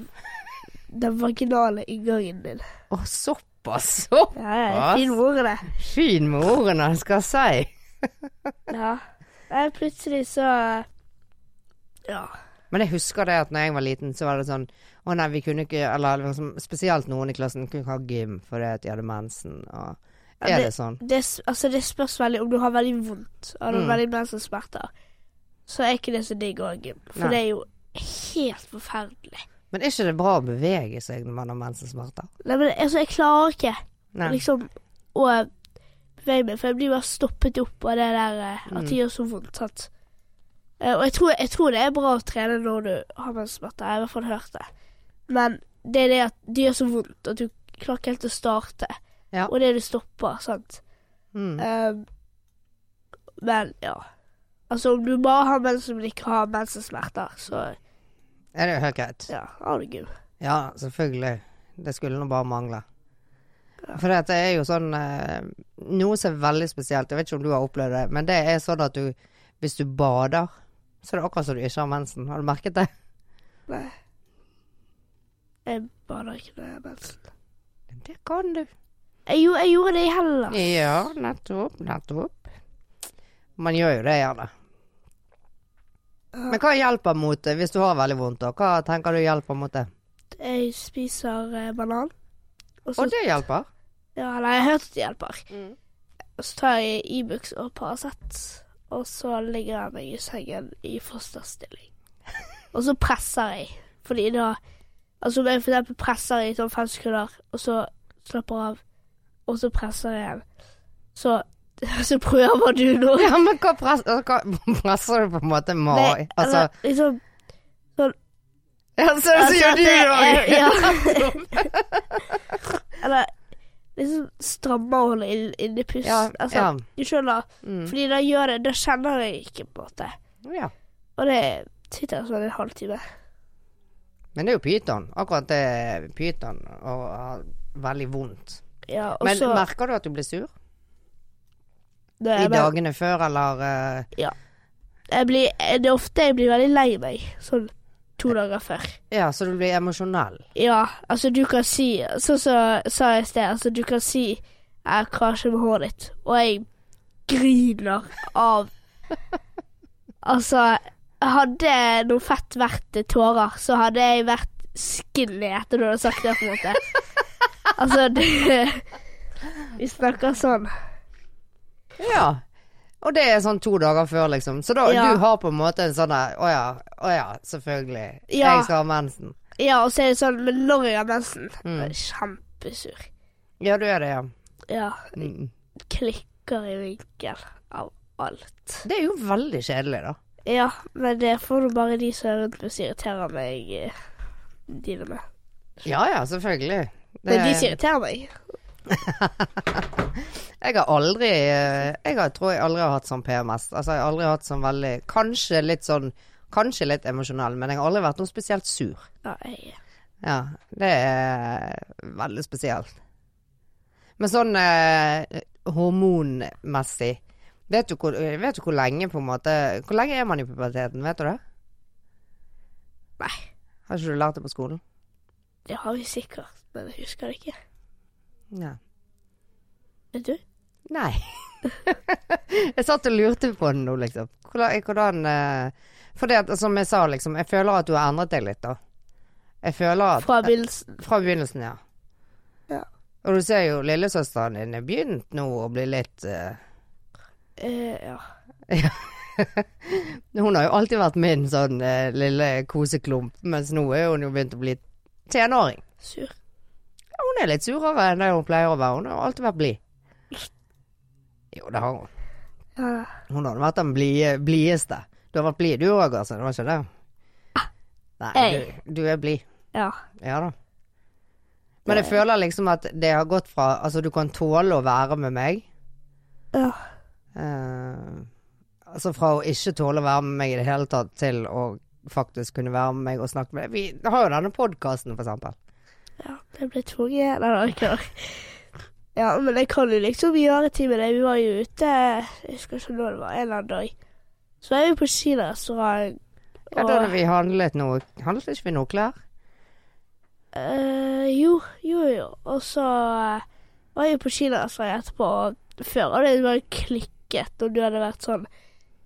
Speaker 2: den vaginale inngangen din.
Speaker 1: Å, såpass! Så
Speaker 2: Ja, ja,
Speaker 1: Ass.
Speaker 2: fin ord, det.
Speaker 1: fin med ordene, skal jeg si.
Speaker 2: Ja. Nei, plutselig så Ja.
Speaker 1: Men jeg husker det at når jeg var liten, så var det sånn Å nei, vi kunne ikke Eller liksom, spesielt noen i klassen kunne ikke ha gym fordi at de hadde mensen. Og,
Speaker 2: Ja,
Speaker 1: er
Speaker 2: det-
Speaker 1: det sånn?
Speaker 2: Det, s- altså, det spørs veldig om du har veldig vondt og du har
Speaker 1: Mm.
Speaker 2: veldig mensensmerter. Så er ikke det så digg å ha gym,
Speaker 1: Nei.
Speaker 2: for det er jo helt forferdelig.
Speaker 1: Men er ikke det bra å bevege seg når man har mensensmerter?
Speaker 2: Nei, men altså, jeg klarer ikke
Speaker 1: Nei.
Speaker 2: liksom å bevege meg, for jeg blir bare stoppet opp av det der eh,
Speaker 1: Mm.
Speaker 2: at det gjør så vondt. Sant? Eh, Og jeg tror, jeg tror det er bra å trene når du har mensensmerter, jeg har i hvert fall hørt det. Men det er det at det gjør så vondt at du klarer ikke helt å starte,
Speaker 1: Ja.
Speaker 2: og det du stopper, sant.
Speaker 1: Mm.
Speaker 2: Eh, men ja. Altså om du bare har mensen, men ikke har mensensmerter, så
Speaker 1: Er det jo helt greit?
Speaker 2: ja, har du gym.
Speaker 1: Ja, selvfølgelig. Det skulle nå bare mangle.
Speaker 2: Ja.
Speaker 1: For det er jo sånn eh, Noe som er veldig spesielt, jeg vet ikke om du har opplevd det, men det er sånn at du Hvis du bader, så er det akkurat som du ikke har mensen. Har du merket det?
Speaker 2: Nei. Jeg bader ikke når jeg har mensen.
Speaker 1: Det kan du.
Speaker 2: Jeg, gjo- jeg gjorde det i Hellas.
Speaker 1: Ja, nettopp, nettopp. Man gjør jo det gjerne. Men hva hjelper mot det hvis du har veldig vondt? da? Hva tenker du hjelper mot det?
Speaker 2: Jeg spiser eh, banan. Og så,
Speaker 1: Og det
Speaker 2: [laughs]
Speaker 1: hjelper.
Speaker 2: ja, eller jeg har hørt at det hjelper.
Speaker 1: Mm.
Speaker 2: Og så tar jeg Ibux og Paracet, og så ligger jeg meg i sengen i
Speaker 1: [laughs]
Speaker 2: fosterstilling. Og så presser jeg, fordi da Altså om jeg for eksempel presser i sånn fem sekunder, og så slapper av, og så presser jeg igjen. Så, [laughs] så prøver du nå.
Speaker 1: Ja, men hva presser, hva presser du på en måte
Speaker 2: Nei,
Speaker 1: med Altså,
Speaker 2: eller liksom
Speaker 1: ja, så så
Speaker 2: altså,
Speaker 1: gjør du
Speaker 2: det er- [laughs]
Speaker 1: [laughs]
Speaker 2: ja.
Speaker 1: det òg!
Speaker 2: Eller liksom strammer og holder inn- inni pusten.
Speaker 1: Ja,
Speaker 2: altså,
Speaker 1: ja.
Speaker 2: Du skjønner?
Speaker 1: Mm.
Speaker 2: Fordi da gjør det, da kjenner jeg ikke, på en måte.
Speaker 1: ja.
Speaker 2: Og det sitter sånn en halvtime.
Speaker 1: Men det er jo pyton. Akkurat det er pyton og har veldig vondt.
Speaker 2: Ja, og
Speaker 1: Men
Speaker 2: så
Speaker 1: merker du at du blir sur?
Speaker 2: når
Speaker 1: I
Speaker 2: jeg, bare-
Speaker 1: dagene før, eller eh,
Speaker 2: Jeg blir, det er ofte jeg blir veldig lei meg. Sånn to dager før.
Speaker 1: Ja, så du blir emosjonell.
Speaker 2: Ja, altså du kan si Sånn som jeg sa i sted, altså du kan si Jeg krasjer med håret ditt, og jeg griner av Altså, hadde noe fett vært tårer, så hadde jeg vært skinny etter du hadde sagt det, på en måte. Altså, [laughs] det Vi snakker sånn.
Speaker 1: Ja. Og det er sånn to dager før, liksom. Så da,
Speaker 2: Ja.
Speaker 1: du har på en måte en sånn der Å ja, å ja, selvfølgelig.
Speaker 2: Ja.
Speaker 1: Jeg skal ha mensen.
Speaker 2: Ja, og så er det sånn Men når jeg har mensen,
Speaker 1: Mm.
Speaker 2: kjempesur.
Speaker 1: Ja, du er det, ja.
Speaker 2: Ja.
Speaker 1: Mm.
Speaker 2: Klikker i vinkel av alt.
Speaker 1: Det er jo veldig kjedelig, da.
Speaker 2: Ja, men det får nå bare de som er rundt meg som irriterer meg, eh, deale med.
Speaker 1: Ja ja, selvfølgelig. Det-
Speaker 2: Men de som irriterer meg
Speaker 1: Jeg har aldri eh, Jeg har, tror jeg aldri har hatt sånn PMS. Altså, jeg har aldri hatt sånn veldig Kanskje litt sånn Kanskje litt emosjonell, men jeg har aldri vært noe spesielt sur.
Speaker 2: Ja, jeg
Speaker 1: Ja, det er veldig spesielt. Men sånn eh, hormonmessig vet du, hvor, eh, vet du hvor lenge på en måte Hvor lenge er man i puberteten, vet du det?
Speaker 2: Nei.
Speaker 1: Har ikke du lært det på skolen?
Speaker 2: Det har vi sikkert, men jeg husker det ikke.
Speaker 1: Ja.
Speaker 2: Vet du?
Speaker 1: Nei. [laughs] jeg satt og lurte på det nå, liksom. Hvordan, hvordan eh, For det at, som jeg sa, liksom, jeg føler at du har endret deg litt, da. Jeg føler at
Speaker 2: Fra begynnelsen.
Speaker 1: Fra begynnelsen, ja.
Speaker 2: Ja.
Speaker 1: Og du ser jo lillesøsteren din er begynt nå å bli litt eh,
Speaker 2: eh, ja.
Speaker 1: Hun har jo alltid vært min sånn eh, lille koseklump, mens nå er hun jo begynt å bli tenåring.
Speaker 2: Sur.
Speaker 1: Ja, Hun er litt surere enn det hun pleier å være. Hun har jo alltid vært blid. Jo, det har hun.
Speaker 2: Ja,
Speaker 1: Hun har vært den blide- blideste. Du har vært blid du òg, altså. Det var ikke det? Nei,
Speaker 2: Hey.
Speaker 1: du, du er blid.
Speaker 2: ja.
Speaker 1: Ja da. Men
Speaker 2: Eh.
Speaker 1: jeg føler liksom at det har gått fra Altså, du kan tåle å være med meg.
Speaker 2: ja.
Speaker 1: Eh, altså fra å ikke tåle å være med meg i det hele tatt, til å faktisk kunne være med meg og snakke med deg. Vi har jo denne podkasten, for eksempel.
Speaker 2: ja. Jeg ble tvunget. Nei, da, ikke da. Ja, men jeg kan jo liksom gjøre ting med det. Vi var jo ute Jeg husker ikke når det var. En eller annen dag. Så eh, var vi på kinarestaurant.
Speaker 1: Ja, da hadde vi handlet noe Handlet ikke vi noe klær?
Speaker 2: Eh, jo, jo, jo. Og så eh, var jeg på kinarestaurant etterpå, og før hadde det bare klikket, og du hadde vært sånn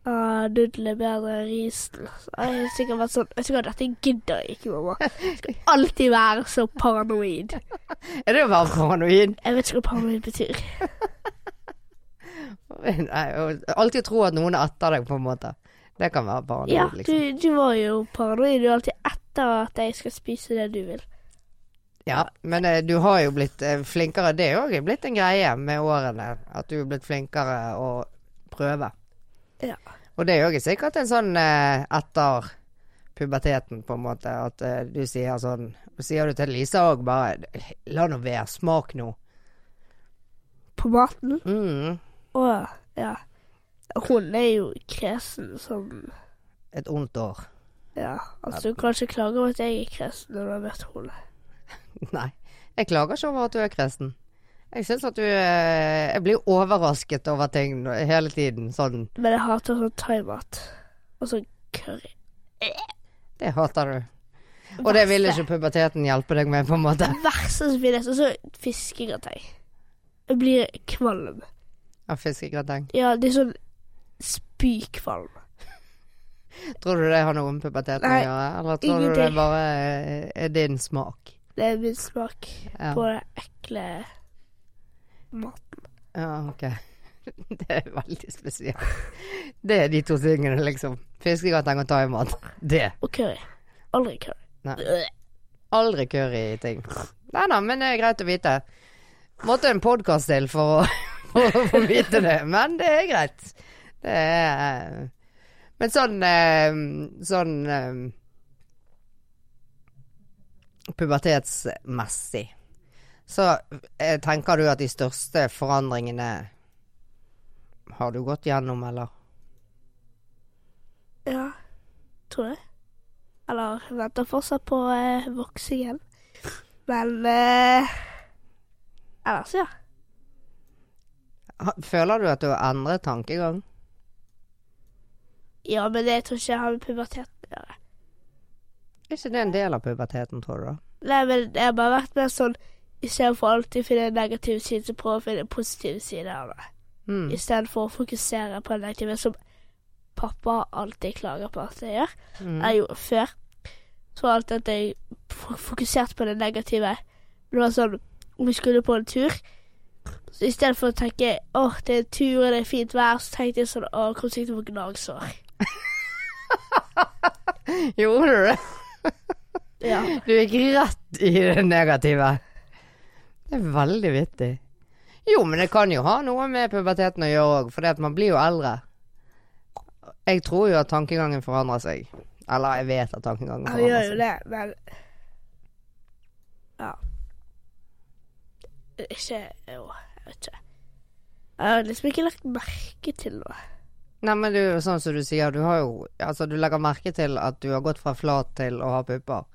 Speaker 2: ah, Nudler er bedre enn risen. Så jeg hadde sikkert vært sånn Vet du hva, dette gidder jeg ikke, mamma. Jeg skal alltid være så paranoid.
Speaker 1: Er det å være paranoid?
Speaker 2: Jeg vet ikke hva paranoid betyr.
Speaker 1: Nei, og alltid tro at noen er etter deg, på en måte. Det kan være paranoid,
Speaker 2: Ja, du,
Speaker 1: liksom.
Speaker 2: du var jo paranoid. Du er alltid etter at jeg skal spise det du vil.
Speaker 1: Ja, men eh, du har jo blitt eh, flinkere. Det er jo blitt en greie med årene. At du er blitt flinkere å prøve.
Speaker 2: Ja.
Speaker 1: Og det er jo ikke sikkert en sånn eh, etter puberteten, på en måte, at eh, du sier sånn Sier du til Lisa òg bare La nå være. Smak nå.
Speaker 2: På maten.
Speaker 1: Mm.
Speaker 2: Å, ja. Hun er jo kresen som
Speaker 1: Et ondt år. [laughs]
Speaker 2: Ja, altså du kan ikke klage over at jeg er kresen når du har møtt henne.
Speaker 1: Nei. Jeg klager ikke over at du er kresen. Jeg syns at du eh, Jeg blir overrasket over ting nå- hele tiden. Sånn
Speaker 2: Men jeg hater sånn thaimat. Og sånn curry.
Speaker 1: Det hater du. Og det vil ikke puberteten hjelpe deg med, på en måte. [laughs]
Speaker 2: Verste som finnes. Og så fiskegrateng. Jeg blir kvalm.
Speaker 1: Av fiskegrateng.
Speaker 2: Ja, det er sånn spykvalm.
Speaker 1: Tror du det har noe med puberteten å
Speaker 2: Nei,
Speaker 1: gjøre, eller tror du det
Speaker 2: ingenting.
Speaker 1: bare eh, er din smak?
Speaker 2: Det er min smak
Speaker 1: Ja,
Speaker 2: på det ekle maten.
Speaker 1: ja ok. [laughs] Det er veldig spesielt. Det er de to tingene, liksom. Fiskegrateng og thaimat. Det.
Speaker 2: Og curry. Aldri curry.
Speaker 1: Nei.
Speaker 2: Øh.
Speaker 1: Aldri curry i ting. Nei da, men det er greit å vite. Måtte en podkast til for å, [laughs] for å få vite det, men det er greit. Det er Men sånn eh, Sånn eh, Pubertetsmessig så eh, tenker du at de største forandringene har du gått gjennom, eller?
Speaker 2: Ja, tror jeg. Eller jeg venter fortsatt på eh, voksingen. Men eh, Ellers, ja.
Speaker 1: Ha- Føler du at du har endret tankegang?
Speaker 2: Ja, men det tror ikke jeg har med puberteten å gjøre.
Speaker 1: Er ikke det en del av puberteten, tror du? da?
Speaker 2: Nei, men jeg har bare vært mer sånn Istedenfor alltid finne en negativ side, så prøve å finne en positiv side av det.
Speaker 1: Mm.
Speaker 2: Istedenfor å fokusere på det negative, som pappa alltid klager på at jeg gjør.
Speaker 1: Mm.
Speaker 2: Jeg gjorde før. Så var alltid at jeg f- fokuserte på det negative. Det var sånn om vi skulle på en tur, så istedenfor å tenke åh, det er en tur, og det er fint vær, så tenkte jeg sånn åh, kom sikkert til å få gnagsår.
Speaker 1: [laughs] Gjorde du det?
Speaker 2: Ja.
Speaker 1: Du gikk rett i det negative. Det er veldig vittig. Jo, men det kan jo ha noe med puberteten å gjøre òg, for det at man blir jo eldre. Jeg tror jo at tankegangen forandrer seg. Eller jeg vet at tankegangen
Speaker 2: Han gjør
Speaker 1: forandrer
Speaker 2: jo
Speaker 1: seg.
Speaker 2: det, men Ja. Ikke Jo, jeg vet ikke. Jeg har liksom ikke lagt merke til noe.
Speaker 1: Nei, men det er jo sånn som du sier, du har jo Altså, du legger merke til at du har gått fra flat til å ha pupper.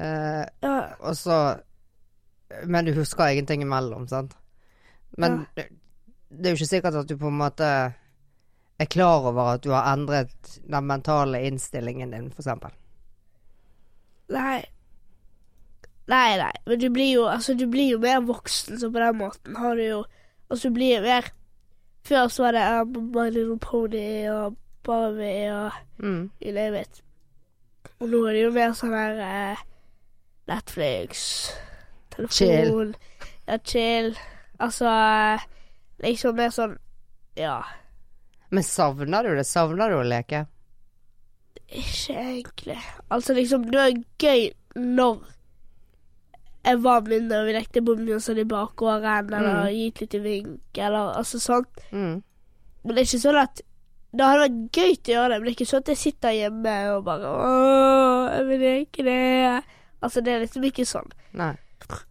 Speaker 1: Eh,
Speaker 2: Ja,
Speaker 1: og så Men du husker ingenting imellom, sant? Men det, det er jo ikke sikkert at du på en måte er klar over at du har endret den mentale innstillingen din, for eksempel.
Speaker 2: nei. Nei, nei, men du blir jo Altså, du blir jo mer voksen, så på den måten har du jo Altså, du blir jo mer Før så var det eh, My Little Pony og Barbie og
Speaker 1: Mm.
Speaker 2: i livet mitt. Og nå er det jo mer sånn her eh, Netflix, telefon
Speaker 1: Chill.
Speaker 2: Ja, chill. Altså eh, liksom mer sånn Ja,
Speaker 1: Men savner du det? Savner du å leke?
Speaker 2: ikke egentlig. Altså liksom, det var gøy når jeg var mindre og vi lekte bomben sånn i bakgården, eller gikk litt i vink, eller altså sånt.
Speaker 1: Mm.
Speaker 2: Men det er ikke sånn at Det hadde vært gøy til å gjøre det, men det er ikke sånn at jeg sitter hjemme og bare Åh, jeg vil ikke det. Altså, det er liksom ikke sånn.
Speaker 1: Nei.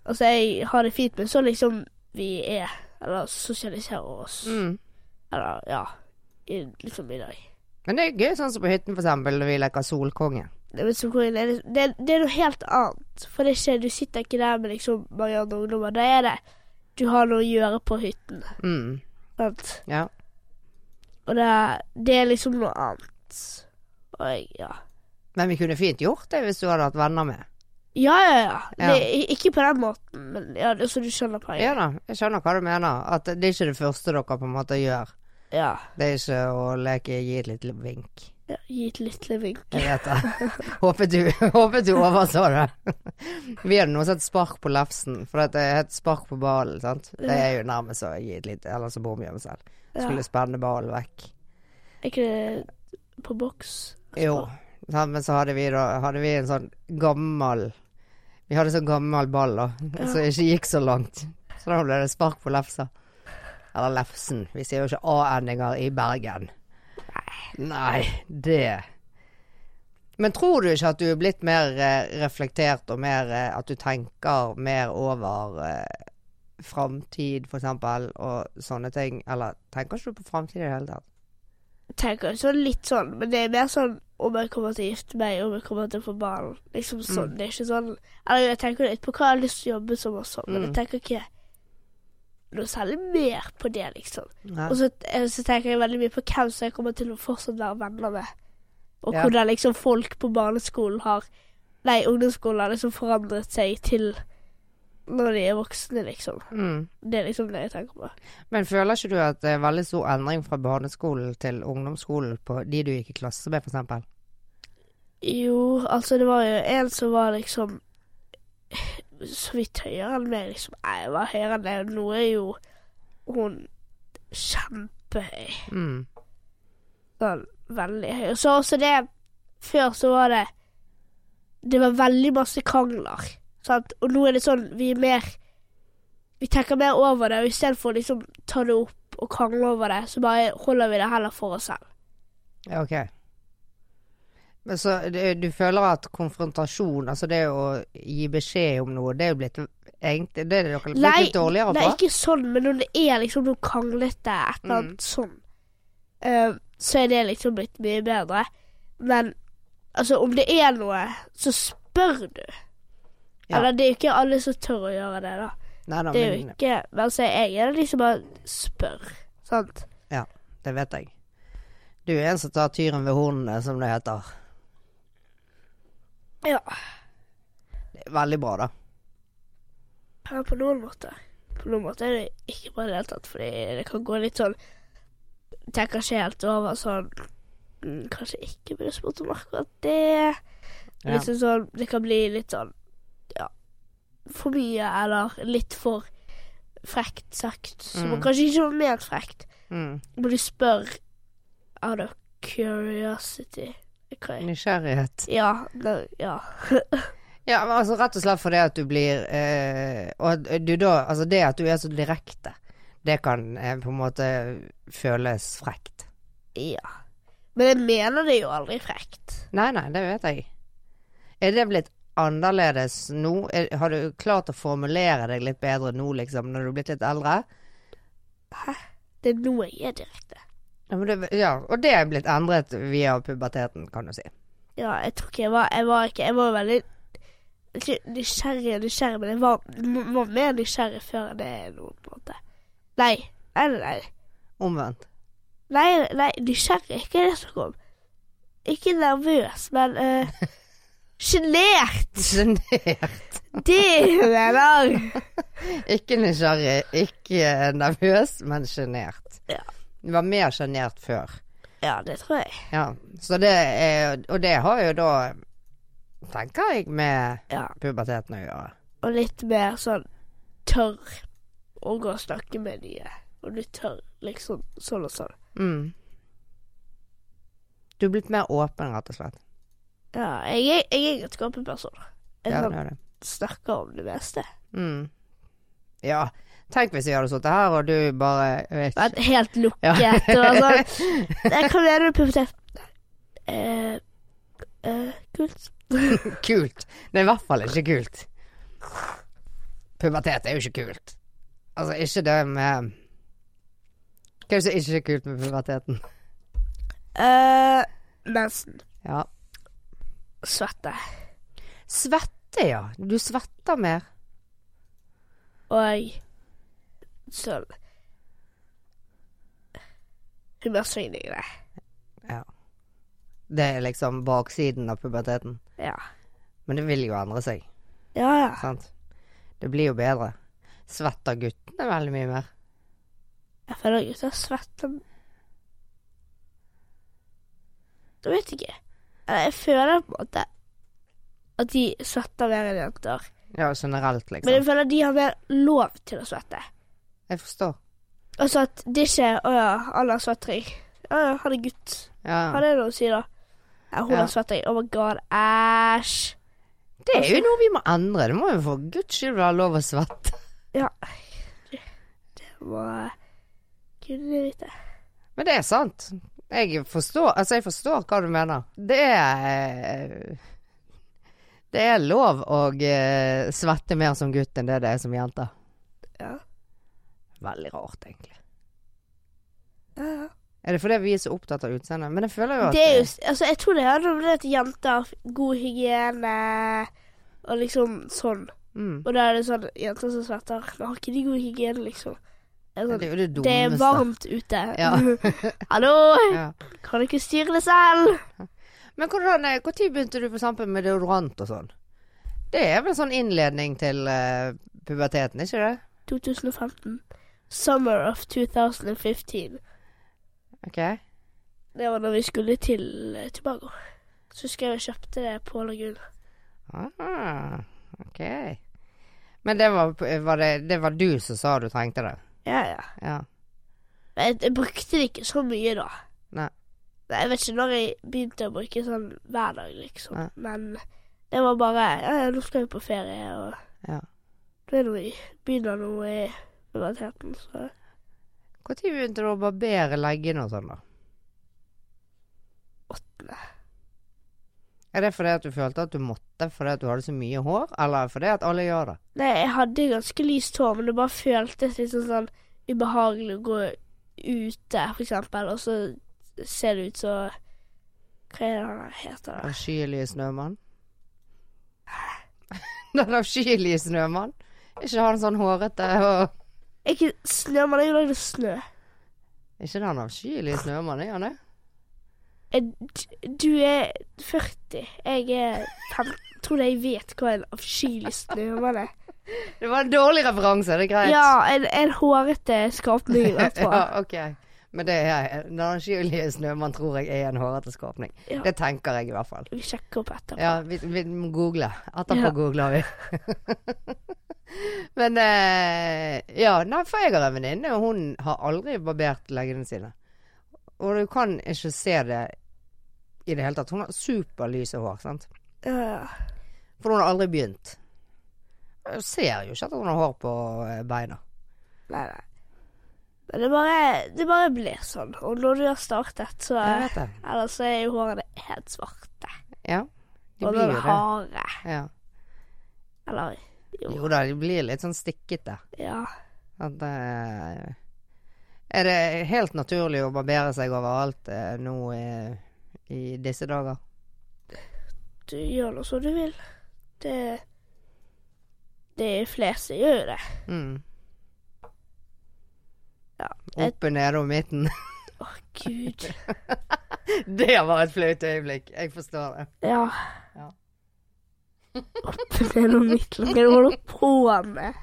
Speaker 2: Altså, jeg har det fint med sånn liksom vi er, eller sosialiserer oss,
Speaker 1: Mm.
Speaker 2: eller ja, i, liksom i dag.
Speaker 1: Men det er gøy, sånn som på hytten, for eksempel, når vi leker Solkonge.
Speaker 2: Det, men så går jeg ned- det, det er noe helt annet, for det er ikke, du sitter ikke der med liksom mange andre ungdommer. Da er det du har noe å gjøre på hytten,
Speaker 1: Mm.
Speaker 2: sant.
Speaker 1: Ja.
Speaker 2: Og det, er- det er liksom noe annet. Og jeg, ja.
Speaker 1: Men vi kunne fint gjort det hvis du hadde hatt venner med.
Speaker 2: Ja, ja, ja.
Speaker 1: Ja.
Speaker 2: Det, i- ikke på den måten, men ja, det- så du skjønner poenget.
Speaker 1: Ja da, jeg skjønner hva du mener. At det er ikke det første dere på en måte gjør.
Speaker 2: Ja.
Speaker 1: Det er ikke å leke gi et lite vink.
Speaker 2: ja. Gi et lite vink.
Speaker 1: Jeg vet det. Håpet du, [laughs] håpet du overså det. Vi hadde nå sett spark på lefsen, for det het spark på ballen, sant. Det er jo nærmest å gi et lite Eller så bor vi hjemme selv.
Speaker 2: Ja.
Speaker 1: Skulle spenne ballen vekk.
Speaker 2: Er ikke det på boks?
Speaker 1: Jo. sant, Men så hadde vi da hadde vi en sånn gammel Vi hadde sånn gammel ball da, som ikke gikk så langt. Så da ble det spark på lefsa. Eller lefsen. Vi sier jo ikke A-endinger i Bergen. Nei, det Men tror du ikke at du er blitt mer eh, reflektert, og mer eh, at du tenker mer over eh, framtid, for eksempel, og sånne ting? Eller tenker ikke du på framtid i det hele tatt?
Speaker 2: Tenker jo sånn litt sånn, men det er mer sånn om jeg kommer til å gifte meg, om jeg kommer til å få barn. Liksom
Speaker 1: Mm.
Speaker 2: sånn. Det er ikke sånn Eller jeg tenker litt på hva jeg har lyst til å jobbe som og sånn, men
Speaker 1: Mm.
Speaker 2: jeg tenker ikke noe særlig mer på det, liksom.
Speaker 1: Nei.
Speaker 2: Og så, eh, så tenker jeg veldig mye på hvem som jeg kommer til å fortsatt være venner med. Og
Speaker 1: Ja.
Speaker 2: hvordan liksom folk på barneskolen har Nei, ungdomsskolen har liksom forandret seg til når de er voksne, liksom.
Speaker 1: Mm.
Speaker 2: Det er liksom det jeg tenker på.
Speaker 1: Men føler ikke du at det er veldig stor endring fra barneskolen til ungdomsskolen på de du gikk i klasse med, for eksempel?
Speaker 2: Jo, altså det var jo en som var liksom Så vidt høyere enn meg, liksom. Nei, jeg var høyere enn deg, og nå er jo hun kjempehøy.
Speaker 1: Mm.
Speaker 2: sånn veldig høy. Og så også det Før så var det Det var veldig masse krangler. Sant? Og nå er det sånn Vi er mer Vi tenker mer over det, og istedenfor å liksom ta det opp og krangle over det, så bare holder vi det heller for oss selv.
Speaker 1: Ja, ok. Men så det- du føler at konfrontasjon, altså det å gi beskjed om noe, det er jo blitt egentlig Det er dere blitt litt dårligere
Speaker 2: nei,
Speaker 1: på?
Speaker 2: ikke sånn, men når det er liksom noe kranglete, et eller
Speaker 1: Mm.
Speaker 2: annet sånn, eh, så er det liksom blitt mye bedre. Men altså, om det er noe, så spør du.
Speaker 1: Ja.
Speaker 2: Eller det er jo ikke alle som tør å gjøre det, da.
Speaker 1: Nei, nei,
Speaker 2: Det er jo
Speaker 1: men,
Speaker 2: ikke Men altså, jeg er liksom bare spør, sant?
Speaker 1: ja, det vet jeg. Du er en som tar tyren ved hornene, som det heter.
Speaker 2: Ja.
Speaker 1: Det er Veldig bra, da.
Speaker 2: Ja, på noen måter. På noen måter er det ikke bra i det hele tatt, fordi det kan gå litt sånn Tenker ikke helt over sånn mm, Kanskje ikke burde spurt om akkurat det.
Speaker 1: Ja.
Speaker 2: Liksom sånn Det kan bli litt sånn Ja. For mye, eller litt for frekt sagt. Som
Speaker 1: Mm.
Speaker 2: kanskje ikke var ment frekt.
Speaker 1: Mm.
Speaker 2: Men du spør out of curiosity. Hva
Speaker 1: Mm.
Speaker 2: er
Speaker 1: Nysgjerrighet.
Speaker 2: Ja. Det, ja.
Speaker 1: Ja, men altså rett og slett fordi at du blir eh, Og at du da Altså det at du er så direkte, det kan eh, på en måte føles frekt.
Speaker 2: ja. Men jeg mener det jo aldri frekt.
Speaker 1: Nei, nei, det vet jeg. Er det blitt annerledes nå? Er, har du klart å formulere deg litt bedre nå, liksom, når du er blitt litt eldre?
Speaker 2: Det er nå jeg er direkte.
Speaker 1: Ja, men det, ja, og det er blitt endret via puberteten, kan du si.
Speaker 2: Ja, jeg tror ikke jeg var Jeg var ikke Jeg var veldig ikke nysgjerrig, nysgjerrig, men jeg var, m- var mer nysgjerrig før enn det er nå, på en måte. Nei. Nei, nei, nei.
Speaker 1: [laughs] Omvendt.
Speaker 2: Nei, nei nysgjerrig er ikke det som kom. Ikke nervøs, men uh, Sjenert!
Speaker 1: Sjenert.
Speaker 2: Det er jo det der.
Speaker 1: Ikke nysgjerrig, ikke nervøs, men sjenert.
Speaker 2: Ja.
Speaker 1: Du var mer sjenert før.
Speaker 2: Ja, det tror jeg.
Speaker 1: Ja, så det er, og det har jo da, tenker jeg, med
Speaker 2: Ja.
Speaker 1: puberteten å gjøre.
Speaker 2: Og litt mer sånn tør å gå og snakke med nye. Og du tør liksom sånn og sånn.
Speaker 1: Mm. Du er blitt mer åpen, rett og slett.
Speaker 2: Ja, jeg er, jeg er en ganske åpen person. Jeg
Speaker 1: Ja,
Speaker 2: sånn,
Speaker 1: det er det.
Speaker 2: snakker om det meste.
Speaker 1: Mm. Ja, tenk hvis jeg hadde sittet her, og du bare, jeg vet
Speaker 2: Vært helt lukket
Speaker 1: Ja.
Speaker 2: og sånn.
Speaker 1: [laughs]
Speaker 2: Jeg kan gjøre det pubertet. Eh, eh, kult.
Speaker 1: ikke, kult. Det er i hvert fall ikke kult. Pubertet er jo ikke kult. Altså, ikke det med, hva er det som ikke er kult med puberteten?
Speaker 2: Eh, mensen.
Speaker 1: Ja.
Speaker 2: Svette.
Speaker 1: Svette, ja. Du svetter mer.
Speaker 2: Og sånn Humørsvingningene.
Speaker 1: Det er liksom baksiden av puberteten.
Speaker 2: Ja.
Speaker 1: Men det vil jo endre seg,
Speaker 2: Ja, ja.
Speaker 1: sant? Det blir jo bedre. Svetter guttene veldig mye mer?
Speaker 2: Jeg føler gutter svetter Jeg vet ikke. Eller, Jeg føler på en måte at de svetter mer enn jenter.
Speaker 1: Ja, generelt,
Speaker 2: Men jeg
Speaker 1: liksom.
Speaker 2: føler de har mer lov til å svette.
Speaker 1: Jeg forstår.
Speaker 2: Altså at det ikke er 'Å ja, alle har svetting'. 'Å ja, han er gutt'. Har
Speaker 1: Ja.
Speaker 2: det noe å si, da? Ja, hun
Speaker 1: Ja.
Speaker 2: har svetting. Oh my god, æsj.
Speaker 1: Det er jo noe vi må endre. Det må jo for guds skyld være lov å svette.
Speaker 2: Må kunne vite.
Speaker 1: Men det er sant. Jeg forstår, altså jeg forstår hva du mener. Det er eh, Det er lov å eh, svette mer som gutt enn det det er som jente.
Speaker 2: Ja.
Speaker 1: Veldig rart, egentlig.
Speaker 2: Ja, ja.
Speaker 1: Er det fordi vi er så opptatt av utseendet? Men jeg føler jo at
Speaker 2: Det er jo, altså, jeg tror det handler om det at jenter har god hygiene og liksom sånn.
Speaker 1: mm.
Speaker 2: Og da er det sånn jenter som svetter. Men har ikke de god hygiene, liksom? Jeg
Speaker 1: Men
Speaker 2: er
Speaker 1: Det
Speaker 2: sånn,
Speaker 1: er jo Altså, det dummeste.
Speaker 2: det er varmt ute.
Speaker 1: Ja.
Speaker 2: [laughs]
Speaker 1: [laughs]
Speaker 2: Hallo!
Speaker 1: Ja.
Speaker 2: Kan du ikke styre det selv?
Speaker 1: Men hvordan, eh, hvor tid begynte du for eksempel med deodorant og sånn? Det er vel en sånn innledning til eh, puberteten, ikke det?
Speaker 2: 2015. Summer of 2015.
Speaker 1: Ok.
Speaker 2: Det var når vi skulle til eh, Tobago. Så husker jeg vi kjøpte det på Lagun.
Speaker 1: Aha, ok. Men det var, var det, det var du som sa du trengte det?
Speaker 2: Ja, ja.
Speaker 1: Ja.
Speaker 2: Men jeg, jeg brukte det ikke så mye da.
Speaker 1: Nei.
Speaker 2: Nei, Jeg vet ikke når jeg begynte å bruke sånn hver dag, liksom.
Speaker 1: Nei.
Speaker 2: Men det var bare Ja, ja, nå skal vi på ferie, og
Speaker 1: Ja.
Speaker 2: det er noe, begynner noe i puberteten, så
Speaker 1: Når begynte du å barbere leggene og sånn, da?
Speaker 2: åttende.
Speaker 1: Er det fordi at du følte at du måtte fordi at du hadde så mye hår, eller fordi at alle gjør det?
Speaker 2: Nei, jeg hadde ganske lyst hår, men det bare føltes litt sånn, sånn ubehagelig å gå ute, for eksempel, og så ser det ut så Hva er det han heter? da?
Speaker 1: Avskyelige snømann? [laughs] Den avskyelige snømann? Ikke han sånn hårete og
Speaker 2: Ikke snø, men det er jo lagd av snø.
Speaker 1: Ikke den avskyelige snømannen, er han det?
Speaker 2: Eh, Jeg- Du er 40, jeg er 15. tror jeg vet hva en avskyelig snømann er.
Speaker 1: Det var en dårlig referanse, det er greit. [laughs]
Speaker 2: Ja, en, en hårete skapning, i hvert fall.
Speaker 1: Ja, ok. Men det er den avskyelige snømann tror jeg er en hårete skapning.
Speaker 2: Ja.
Speaker 1: Det tenker jeg i hvert fall.
Speaker 2: Vi sjekker opp etterpå.
Speaker 1: Ja, vi, vi må google. Etterpå
Speaker 2: Ja.
Speaker 1: googler vi. [laughs] Men eh, ja, nei, for jeg har en venninne, og hun har aldri barbert leggene sine. Og du kan ikke se det i det hele tatt. Hun har superlyse hår, sant.
Speaker 2: Ja, ja.
Speaker 1: For hun har aldri begynt. Jeg ser jo ikke at hun har hår på eh, beina.
Speaker 2: Nei, nei. Men det bare, det bare blir sånn. Og når du har startet, så
Speaker 1: Jeg vet det.
Speaker 2: Ellers så er jo hårene helt svarte.
Speaker 1: Ja. De
Speaker 2: og
Speaker 1: blir
Speaker 2: den
Speaker 1: jo det.
Speaker 2: harde.
Speaker 1: Ja.
Speaker 2: Eller Jo.
Speaker 1: Jo da, de blir litt sånn stikkete.
Speaker 2: Ja.
Speaker 1: At eh, Er det helt naturlig å barbere seg overalt eh, nå eh, i disse dager?
Speaker 2: Du gjør nå som du vil. Det De fleste gjør jo det.
Speaker 1: Mm.
Speaker 2: Ja,
Speaker 1: Oppe, nede og midten. [laughs]
Speaker 2: Å, gud.
Speaker 1: det var et flaut øyeblikk. Jeg forstår det.
Speaker 2: Ja.
Speaker 1: Ja.
Speaker 2: Opp ned og midt. Hva er det du holder på med?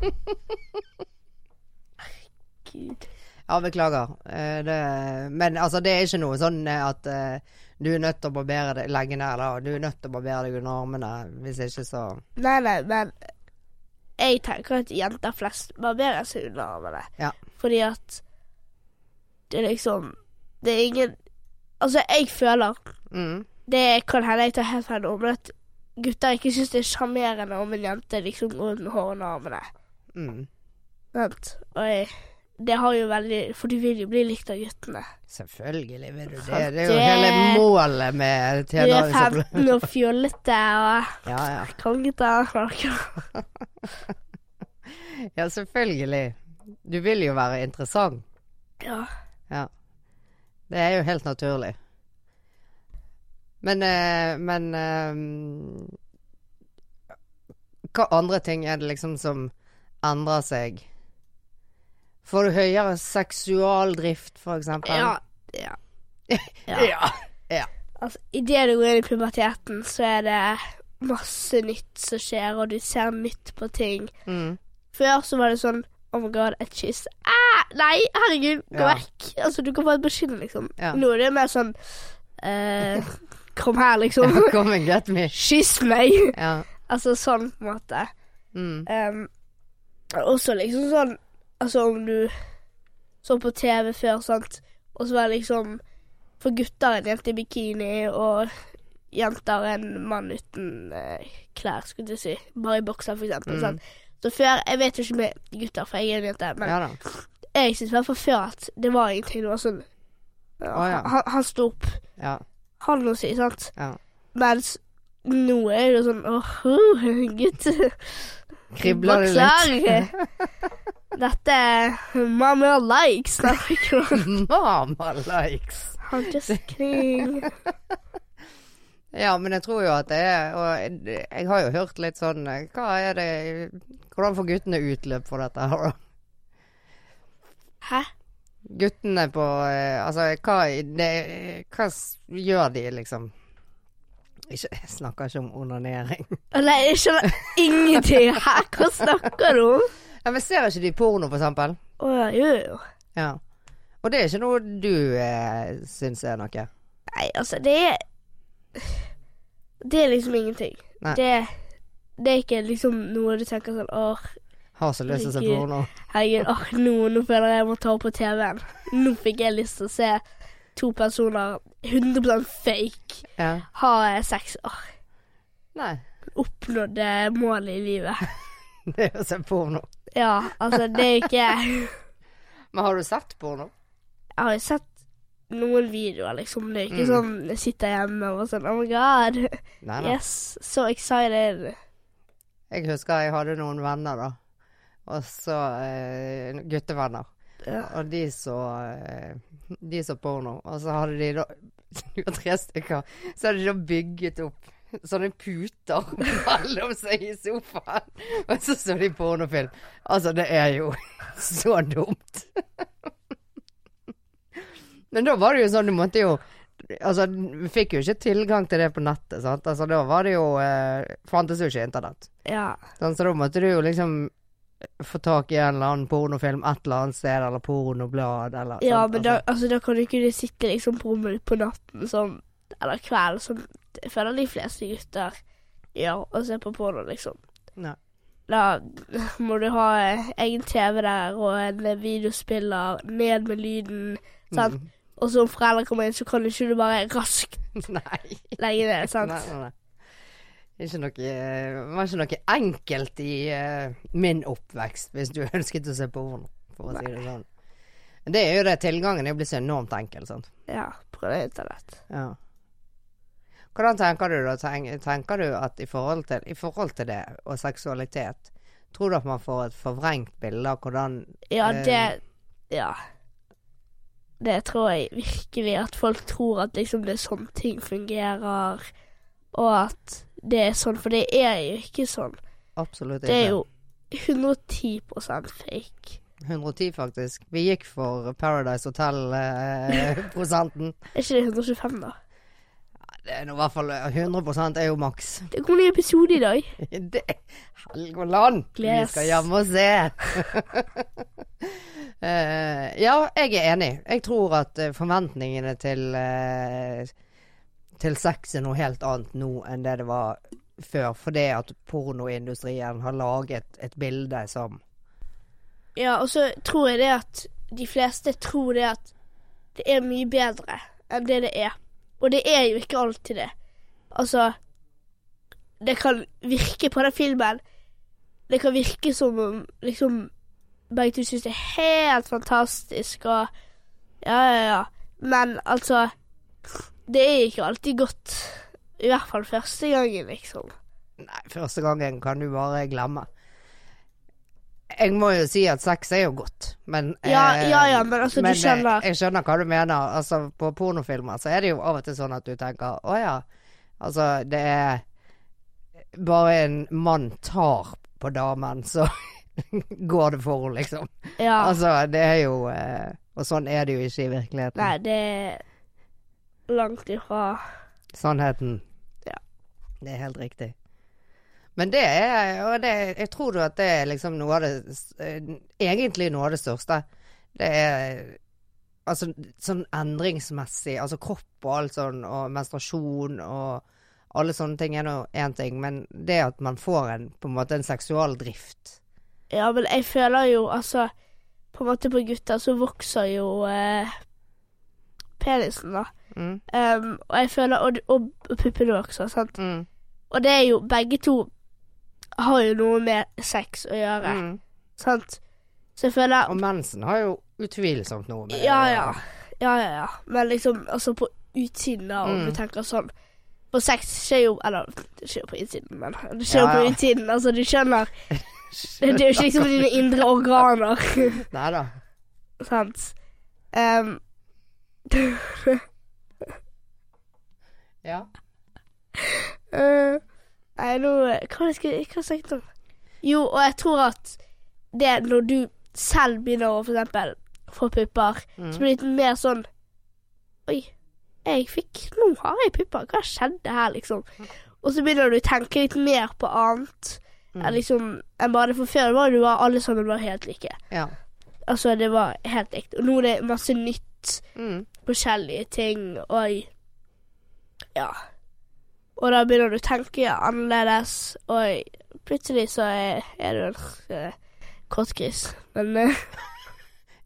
Speaker 2: Herregud.
Speaker 1: Ja, beklager. Eh, det, men altså, det er ikke noe sånn eh, at eh, du er nødt til å barbere deg leggene eller du er nødt til å barbere deg under armene. Hvis ikke, så
Speaker 2: Nei, nei, men jeg tenker at jenter flest barberer seg under armene.
Speaker 1: Ja.
Speaker 2: Fordi at det er liksom Det er ingen Altså, jeg føler
Speaker 1: mm.
Speaker 2: Det kan hende jeg tar helt feil om, men at gutter ikke syns det er sjarmerende om en jente liksom går ut med hår under armene.
Speaker 1: Mm.
Speaker 2: Sant? Og jeg, det har jo veldig For du vil jo bli likt av guttene.
Speaker 1: Selvfølgelig vil du det.
Speaker 2: Sant,
Speaker 1: Det er jo
Speaker 2: det-
Speaker 1: hele målet med
Speaker 2: Du er
Speaker 1: tenåringsopplegg.
Speaker 2: 15 og fjollete og
Speaker 1: [laughs] Ja, ja.
Speaker 2: krangete.
Speaker 1: Ja, selvfølgelig. Du vil jo være interessant.
Speaker 2: Ja.
Speaker 1: Det er jo helt naturlig. Men, eh, men eh, Hva andre ting er det liksom som endrer seg? Får du høyere seksualdrift, for eksempel?
Speaker 2: ja.
Speaker 1: [laughs]
Speaker 2: ja.
Speaker 1: ja. ja.
Speaker 2: Altså, Idet du går inn i puberteten, så er det masse nytt som skjer, og du ser nytt på ting.
Speaker 1: Mm.
Speaker 2: Før så var det sånn Oh my god, et kyss. Ah, nei, herregud, gå
Speaker 1: Ja.
Speaker 2: vekk. Altså, du kan få et beskjed, liksom.
Speaker 1: Ja. [laughs]
Speaker 2: Nå er det mer sånn eh, [laughs] Kom her, liksom.
Speaker 1: Come and get me.
Speaker 2: Kyss meg. [laughs]
Speaker 1: Ja.
Speaker 2: Altså sånn, på en måte.
Speaker 1: Mm.
Speaker 2: Um, også liksom sånn Altså, om du så på TV før, sant, og så var det liksom For gutter en jente i bikini, og jenter en mann uten eh, klær, skulle jeg si. Bare i bokser, for eksempel.
Speaker 1: Mm.
Speaker 2: Sant? Så før Jeg vet jo ikke med gutter, for jeg er en jente, men
Speaker 1: ja da.
Speaker 2: jeg syns i hvert fall før at det var ingenting. Det var sånn
Speaker 1: Å, ja.
Speaker 2: han, han sto opp,
Speaker 1: Ja.
Speaker 2: han å si, sant?
Speaker 1: ja.
Speaker 2: Mens nå er det jo sånn åh, [laughs] gutt.
Speaker 1: Kribler det litt? [laughs]
Speaker 2: Beklager. [laughs] Dette er Mamma likes.
Speaker 1: [laughs]
Speaker 2: Nei, ikke noe.
Speaker 1: Mama likes!
Speaker 2: I'm just kidding.
Speaker 1: Ja, men jeg tror jo at det er Og jeg jeg har jo hørt litt sånn eh, Hva er det Hvordan får guttene utløp for dette her, da?
Speaker 2: Hæ?
Speaker 1: Guttene på eh, Altså, hva, det, hva s- gjør de, liksom? Ikke, jeg snakker ikke om onanering. [laughs]
Speaker 2: Nei, jeg skjønner ingenting her. Hva snakker du om?
Speaker 1: Ja, men ser ikke de porno, for eksempel?
Speaker 2: Å ja, jo, jo.
Speaker 1: Ja. Og det er ikke noe du eh, syns er noe?
Speaker 2: Nei, altså, det er Det er liksom ingenting.
Speaker 1: Nei.
Speaker 2: Det, det er ikke liksom noe du tenker sånn åh,
Speaker 1: Har så lyst til å se
Speaker 2: Ikke-
Speaker 1: porno?
Speaker 2: herregud, åh, nå, nå føler jeg jeg må ta opp på TV-en. Nå fikk jeg lyst til å se to personer 100 fake
Speaker 1: Ja.
Speaker 2: ha eh, sex. Åh,
Speaker 1: Nei.
Speaker 2: oppnådde målet i livet.
Speaker 1: [laughs] Det er å se porno.
Speaker 2: Ja, altså, det er ikke Jeg
Speaker 1: Men har du sett porno?
Speaker 2: har jo sett noen videoer, liksom. Det er ikke
Speaker 1: Mm.
Speaker 2: sånn jeg sitter hjemme og sånn Oh my god.
Speaker 1: Nei, nei.
Speaker 2: Yes, so excited.
Speaker 1: Jeg husker jeg hadde noen venner, da. Og så eh, guttevenner.
Speaker 2: Ja.
Speaker 1: Og de så eh, De så porno. Og så hadde de da [laughs] De var tre stykker. Så hadde de da bygget opp sånne puter [laughs] mellom seg i sofaen. Og så så de pornofilm. Altså, det er jo [laughs] så [laughs] dumt. Men da var det jo sånn, du måtte jo Altså, vi fikk jo ikke tilgang til det på nettet, sant. Altså, da var det jo eh, Fantes jo ikke internett.
Speaker 2: Ja.
Speaker 1: Sant? Sånn, Så da måtte du jo liksom få tak i en eller annen pornofilm et eller annet sted, eller pornoblad, eller
Speaker 2: Ja,
Speaker 1: sant,
Speaker 2: men da, altså, da kan du ikke du sitte liksom på rommet på natten sånn, eller kvelden, som jeg føler de fleste gutter gjør, og se på porno, liksom.
Speaker 1: Nei.
Speaker 2: Da må du ha eh, egen TV der og en eh, videospiller, ned med lyden, sant?
Speaker 1: Mm. [laughs]
Speaker 2: Og så om foreldre kommer inn, så kan du ikke du bare raskt
Speaker 1: Nei.
Speaker 2: legge ned, sant?
Speaker 1: Nei, nei, nei. Ikke noe, det var ikke noe enkelt i eh, min oppvekst, hvis du [laughs] ønsket å se porno, for å si det sånn. Men Det er jo det, tilgangen er jo blitt så enormt enkel, sant.
Speaker 2: Ja, på det internett.
Speaker 1: Ja. Hvordan tenker du da? Tenk- Tenker du at i forhold, til, i forhold til det, og seksualitet, tror du at man får et forvrengt bilde av hvordan
Speaker 2: Ja,
Speaker 1: Eh.
Speaker 2: det Ja. Det tror jeg virkelig. At folk tror at liksom det er sånn ting fungerer, og at det er sånn. For det er jo ikke sånn.
Speaker 1: Absolutt
Speaker 2: Det er
Speaker 1: ikke.
Speaker 2: jo 110 fake.
Speaker 1: 110, faktisk. Vi gikk for Paradise eh, Hotel-prosenten.
Speaker 2: Er ikke det 125, da?
Speaker 1: det er nå i hvert fall 100 er jo maks. [laughs]
Speaker 2: Det kommer ny episode i dag.
Speaker 1: Det Helgoland! Vi
Speaker 2: Yes.
Speaker 1: skal hjem og se. [laughs] Eh, ja, jeg er enig. Jeg tror at eh, forventningene til eh, Til sex er noe helt annet nå enn det det var før. Fordi at pornoindustrien har laget et bilde som
Speaker 2: Ja, og så tror jeg det at de fleste tror det at det er mye bedre enn det det er. Og det er jo ikke alltid det. Altså Det kan virke på den filmen. Det kan virke som om liksom Bergtun syns det er helt fantastisk og Ja, ja, ja. Men altså Det er ikke alltid godt. I hvert fall første gangen, liksom.
Speaker 1: Nei, første gangen kan du bare glemme. Jeg må jo si at sex er jo godt, men
Speaker 2: Ja,
Speaker 1: eh,
Speaker 2: ja, ja, men altså, du
Speaker 1: eh,
Speaker 2: skjønner.
Speaker 1: Jeg skjønner hva du mener. Altså, på pornofilmer så er det jo av og til sånn at du tenker å ja, altså det er Bare en mann tar på damen, så [laughs] går det for henne, liksom.
Speaker 2: Ja.
Speaker 1: Altså, det er jo eh, Og sånn er det jo ikke i virkeligheten.
Speaker 2: Nei, det er langt ifra
Speaker 1: Sannheten.
Speaker 2: Ja.
Speaker 1: Det er helt riktig. Men det er Og det, jeg tror jo at det er liksom noe av det s- eh, Egentlig noe av det største. Det er altså sånn endringsmessig. Altså kropp og alt sånn, og menstruasjon og alle sånne ting er nå én ting, men det at man får en på en måte en seksualdrift
Speaker 2: Ja, men jeg føler jo, altså På en måte på gutter så vokser jo eh, penisen, da.
Speaker 1: mm.
Speaker 2: Em, og jeg føler Og, og puppene vokser, sant.
Speaker 1: Mm.
Speaker 2: Og det er jo Begge to har jo noe med sex å gjøre,
Speaker 1: Mm.
Speaker 2: sant. Så jeg føler
Speaker 1: Og mensen har jo utvilsomt noe med det å
Speaker 2: Ja,
Speaker 1: gjøre.
Speaker 2: ja. Ja, ja, ja. Men liksom, altså på utsiden, da, om
Speaker 1: Mm.
Speaker 2: du tenker sånn For sex skjer jo Eller det skjer jo på innsiden, men det skjer jo
Speaker 1: Ja,
Speaker 2: på
Speaker 1: ja.
Speaker 2: utsiden. Altså, du skjønner. Det, det er jo ikke liksom dine indre organer.
Speaker 1: [laughs] Nei da.
Speaker 2: Sant. Em, [laughs]
Speaker 1: Ja.
Speaker 2: eh, nei, nå Hva jeg skulle hva snakket jeg om? Jo, og jeg tror at det når du selv begynner å for eksempel få pupper, så
Speaker 1: Mm.
Speaker 2: blir det litt mer sånn Oi, jeg fikk Nå har jeg pupper. Hva skjedde her, liksom? Og så begynner du å tenke litt mer på annet
Speaker 1: mm,
Speaker 2: enn liksom enn bare det. For før var det jo bare alle sammen var helt like.
Speaker 1: Ja.
Speaker 2: Altså, det var helt ekte. Og nå er det masse nytt.
Speaker 1: Mm.
Speaker 2: forskjellige ting, og ja. Og da begynner du å tenke annerledes, og plutselig så er, er du en eh, kortgris. Men eh,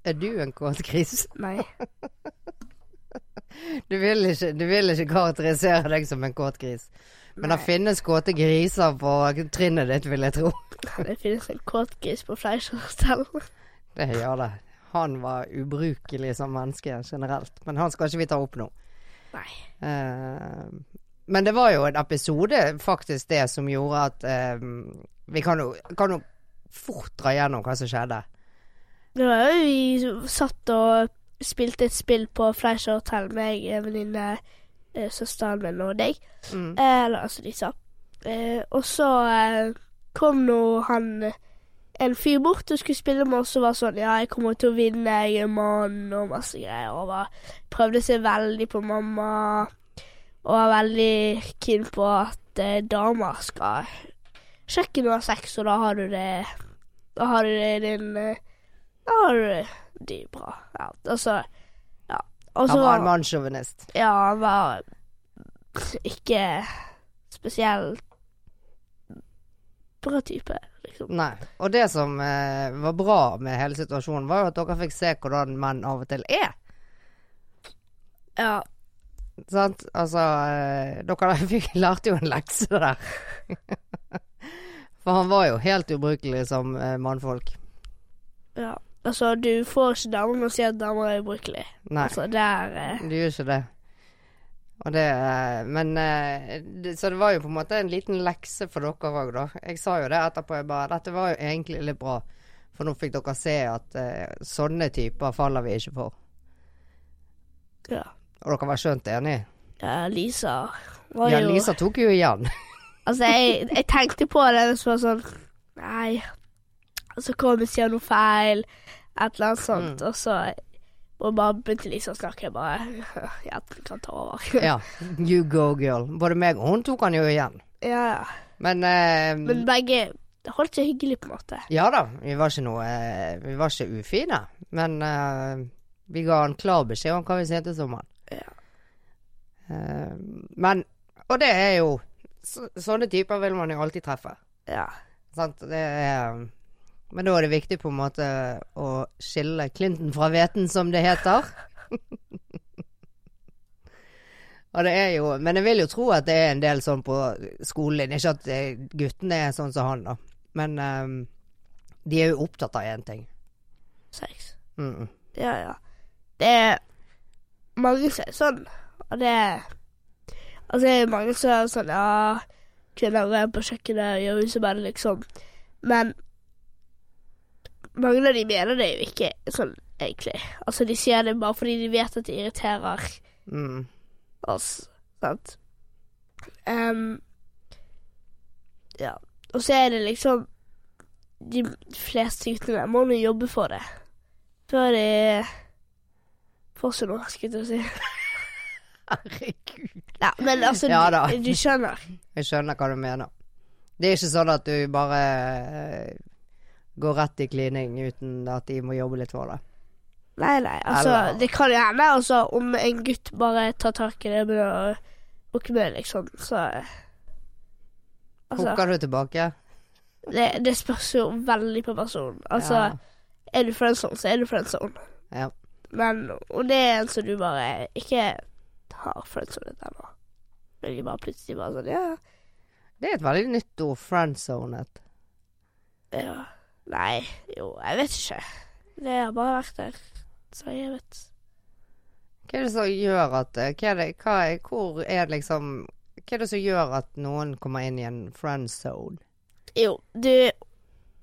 Speaker 1: Er du en kåt gris? [laughs]
Speaker 2: nei.
Speaker 1: Du vil ikke, du vil ikke karakterisere deg som en kåt gris. Men det
Speaker 2: Nei.
Speaker 1: finnes kåte griser på trinnet ditt, vil jeg tro. [laughs]
Speaker 2: Det finnes en kortgris på Fleischerstell.
Speaker 1: Det gjør det. Han var ubrukelig som menneske generelt, men han skal ikke vi ta opp nå.
Speaker 2: Nei.
Speaker 1: Eh, men det var jo en episode, faktisk, det som gjorde at eh, Vi kan jo, kan jo fort dra gjennom hva som skjedde.
Speaker 2: Det var jo vi som satt og spilte et spill på Fleischer Hotel, meg, en venninne, eh, søsteren min og deg.
Speaker 1: Mm.
Speaker 2: Eh, Eller altså de sa. Eh, og så eh, kom nå han en fyr bort og skulle spille med oss og var sånn Ja, jeg kommer til å vinne, jeg er mann, og masse greier. Og var, prøvde seg veldig på mamma. Og var veldig keen på at eh, damer skal sjekke når du har sex, og da har du det Da har du det i din eh, Da har du det, det er bra. Ja, altså Ja. Og så
Speaker 1: Han var en mannssjåvinist.
Speaker 2: ja, han var ikke spesielt bra type, liksom.
Speaker 1: Nei. Og det som eh, var bra med hele situasjonen, var jo at dere fikk se hvordan menn av og til er.
Speaker 2: Ja,
Speaker 1: Sant? Altså, eh, dere [laughs] fikk, lærte jo en lekse der. For han var jo helt ubrukelig som eh, mannfolk.
Speaker 2: ja. Altså, du får ikke damer med å si at damer er ubrukelige.
Speaker 1: Nei.
Speaker 2: Altså, det er eh,
Speaker 1: Du gjør ikke det. Og det eh, Men eh, det, Så det var jo på en måte en liten lekse for dere òg, da. Jeg sa jo det etterpå. Jeg bare Dette var jo egentlig litt bra. For nå fikk dere se at eh, sånne typer faller vi ikke for.
Speaker 2: Ja.
Speaker 1: Og dere var skjønt enige?
Speaker 2: ja Lisa var
Speaker 1: Ja,
Speaker 2: jo
Speaker 1: Lisa tok jo igjen.
Speaker 2: Altså, jeg, jeg tenkte på det, og så var det sånn Nei. Og så kom jeg sier noe feil, et eller annet sånt,
Speaker 1: Mm.
Speaker 2: og så og bare begynte Lisa å snakke. Jeg bare [laughs] Hjertet kan ta over. [laughs] Ja,
Speaker 1: ja. You go, girl. Både meg og hun tok han jo igjen.
Speaker 2: ja.
Speaker 1: Men, eh,
Speaker 2: Men begge holdt seg hyggelig, på en måte.
Speaker 1: Ja da. Vi var ikke noe eh, Vi var ikke ufine. Men eh, vi ga han klar beskjed om hva vi syntes om han.
Speaker 2: Ja.
Speaker 1: Eh, men Og det er jo så, Sånne typer vil man jo alltid treffe.
Speaker 2: Ja.
Speaker 1: Sant? Det er Men da er det viktig på en måte å skille Clinton fra hveten, som det heter. [laughs] Og det er jo Men jeg vil jo tro at det er en del sånn på skolen. Ikke at eh, guttene er sånn som han, da. Men eh, de er jo opptatt av én ting.
Speaker 2: Sex.
Speaker 1: Mm -mm.
Speaker 2: Ja, ja. Det er mange som er sånn, og det er Altså, det er mange som er sånn Ja, kvinner går på kjøkkenet og gjør husarbeid, liksom. Men mange av de mener det jo ikke sånn, egentlig. Altså, de sier det bare fordi de vet at det irriterer
Speaker 1: Mm.
Speaker 2: oss, sant. Em, ja. Og så er det liksom De fleste guttene må nå jobbe for det. Før de får seg noe, skulle jeg til å si.
Speaker 1: Herregud.
Speaker 2: Nei, [laughs] men altså,
Speaker 1: Ja da.
Speaker 2: du, du skjønner.
Speaker 1: Jeg skjønner hva du mener. Det er ikke sånn at du bare eh, går rett i klining uten at de må jobbe litt for det.
Speaker 2: Nei, nei, altså,
Speaker 1: Eller-
Speaker 2: det kan jo hende altså, om en gutt bare tar tak i det og begynner å hooke med, liksom, så Altså,
Speaker 1: Hooker du tilbake?
Speaker 2: det, det spørs jo veldig på personen. Altså,
Speaker 1: Ja.
Speaker 2: er du friendzone, så er du friendzone.
Speaker 1: Ja.
Speaker 2: Men om det er en som du bare ikke har friendzonet ennå, vil de bare plutselig bare sånn Ja,
Speaker 1: Det er et veldig nytt ord, friendzonet.
Speaker 2: ja. Nei, jo, jeg vet ikke. Det har bare vært der, så jeg vet.
Speaker 1: Hva er det som gjør at eh, hva er det, hva er, Hvor er det liksom Hva er det som gjør at noen kommer inn i en friendzone?
Speaker 2: Jo, du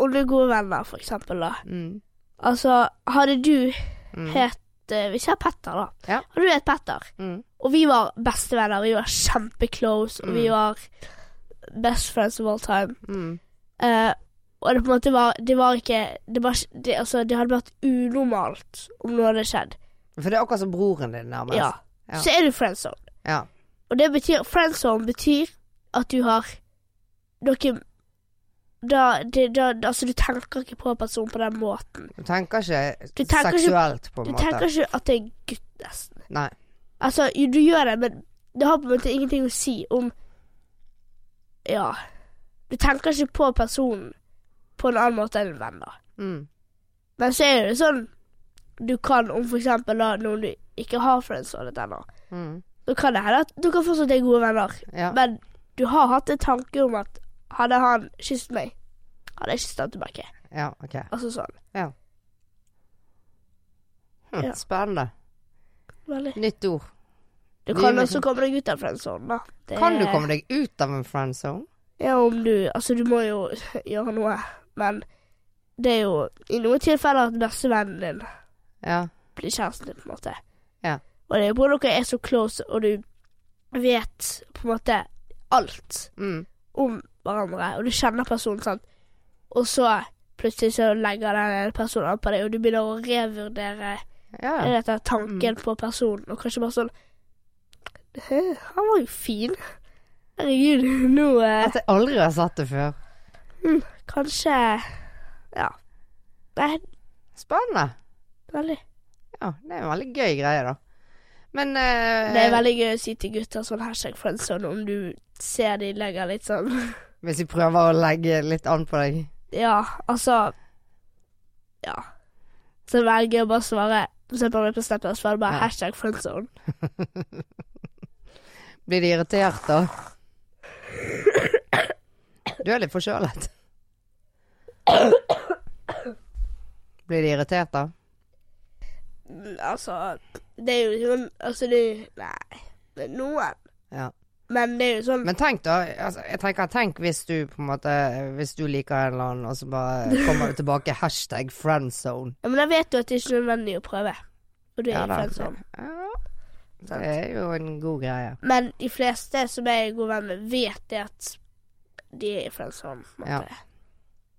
Speaker 2: Om du er gode venner, for eksempel, da.
Speaker 1: Mm.
Speaker 2: Altså, hadde du
Speaker 1: Mm.
Speaker 2: het eh, Vi sier Petter, da.
Speaker 1: Ja.
Speaker 2: Hadde du hett Petter,
Speaker 1: Mm.
Speaker 2: og vi var bestevenner, vi var kjempeclose, og vi
Speaker 1: Mm.
Speaker 2: var best friends of all time
Speaker 1: Mm.
Speaker 2: Eh, Og det på en måte var Det var ikke Det, var, ikke- det, altså, det hadde vært unormalt om noe hadde skjedd.
Speaker 1: For det er akkurat som broren din, nærmest.
Speaker 2: Ja.
Speaker 1: Ja.
Speaker 2: Så er du friendzone.
Speaker 1: Ja.
Speaker 2: Og det betyr Friendzone betyr at du har noe da, det, da, altså, du tenker ikke på personen på den måten.
Speaker 1: Du tenker ikke
Speaker 2: Du tenker ikke-
Speaker 1: seksuelt, på en
Speaker 2: Du
Speaker 1: måte.
Speaker 2: tenker ikke at det er en gutt, nesten.
Speaker 1: Nei.
Speaker 2: Altså, jo, du gjør det, men det har på en måte ingenting å si om Ja. Du tenker ikke på personen på en annen måte enn en venn, da.
Speaker 1: Mm.
Speaker 2: Men så er det sånn Du kan, om for eksempel da, noen du ikke har friends og dette ennå,
Speaker 1: Mm.
Speaker 2: så kan det hende at du kan fortsatt være gode venner,
Speaker 1: Ja.
Speaker 2: men du har hatt en tanke om at hadde han kysset meg, hadde jeg kysset han tilbake.
Speaker 1: ja, ok.
Speaker 2: Altså sånn.
Speaker 1: Hm.
Speaker 2: Ja.
Speaker 1: Spennende.
Speaker 2: Veldig.
Speaker 1: Nytt ord.
Speaker 2: Du kan også komme deg ut av friendzone, da. Det
Speaker 1: Kan du
Speaker 2: er-
Speaker 1: komme deg ut av en friendzone?
Speaker 2: Ja, om du Altså, du må jo [laughs] gjøre noe, men det er jo i noen tilfeller at bestevennen din
Speaker 1: Ja.
Speaker 2: blir kjæresten din, på en måte.
Speaker 1: Ja.
Speaker 2: Og det er jo bare dere er så close, og du vet på en måte alt
Speaker 1: Mm.
Speaker 2: om hverandre, og du kjenner personen, sant, og så plutselig så legger den ene personen an på deg, og du begynner å revurdere
Speaker 1: Ja, Mm.
Speaker 2: er dette tanken på personen, og kanskje bare sånn Hæ, han var jo fin. Herregud, [laughs] nå eh,
Speaker 1: At jeg aldri har sett det før.
Speaker 2: Kanskje Ja. Nei,
Speaker 1: Spennende.
Speaker 2: veldig.
Speaker 1: Ja, det er en veldig gøy greie, da. Men eh,
Speaker 2: Det er veldig gøy å si til gutter sånn hashtag friendzone om du ser de legger litt sånn
Speaker 1: hvis vi prøver å legge litt an på deg
Speaker 2: Ja, altså Ja. Så velger jeg å bare svare Se på meg på Snap og svare bare
Speaker 1: Ja.
Speaker 2: hashtag friendzone.
Speaker 1: Blir de irritert, da? Du er litt forkjølet. Blir de irritert, da?
Speaker 2: Mm, Altså, det er jo sånn Altså, det er jo Nei. Det er noen.
Speaker 1: Ja.
Speaker 2: Men det er jo sånn
Speaker 1: Men tenk, da. Altså, jeg tenker, tenk hvis du på en måte Hvis du liker en eller annen, og så bare kommer du tilbake hashtag friendzone.
Speaker 2: ja, Men da vet du at det er ikke nødvendig å prøve. Og du er
Speaker 1: Ja,
Speaker 2: i
Speaker 1: da. Eh.
Speaker 2: friendzone.
Speaker 1: Ja, det er jo en god greie.
Speaker 2: Men de fleste som jeg er god venn med, vet det at de er i friendzone. på en måte.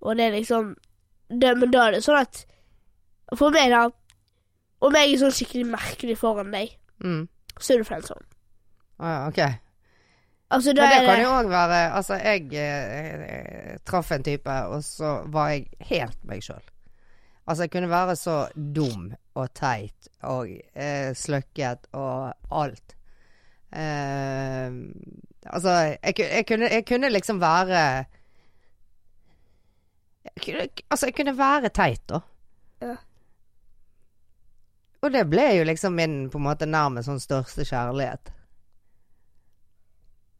Speaker 2: Og det er liksom det, Men da er det sånn at For meg, da Om jeg er sånn skikkelig merkelig foran deg,
Speaker 1: Mm.
Speaker 2: så er du friendzone.
Speaker 1: Å ja, ok.
Speaker 2: Altså, da
Speaker 1: Men det
Speaker 2: er
Speaker 1: kan
Speaker 2: det
Speaker 1: jo òg være Altså, jeg eh, eh, traff en type, og så var jeg helt meg sjøl. Altså, jeg kunne være så dum og teit og eh, sløkket og alt. Eh, altså, jeg, ku- jeg, kunne, jeg kunne liksom være jeg kunne, Altså, jeg kunne være teit, da.
Speaker 2: Ja.
Speaker 1: Og det ble jo liksom min på en måte nærmest sånn største kjærlighet.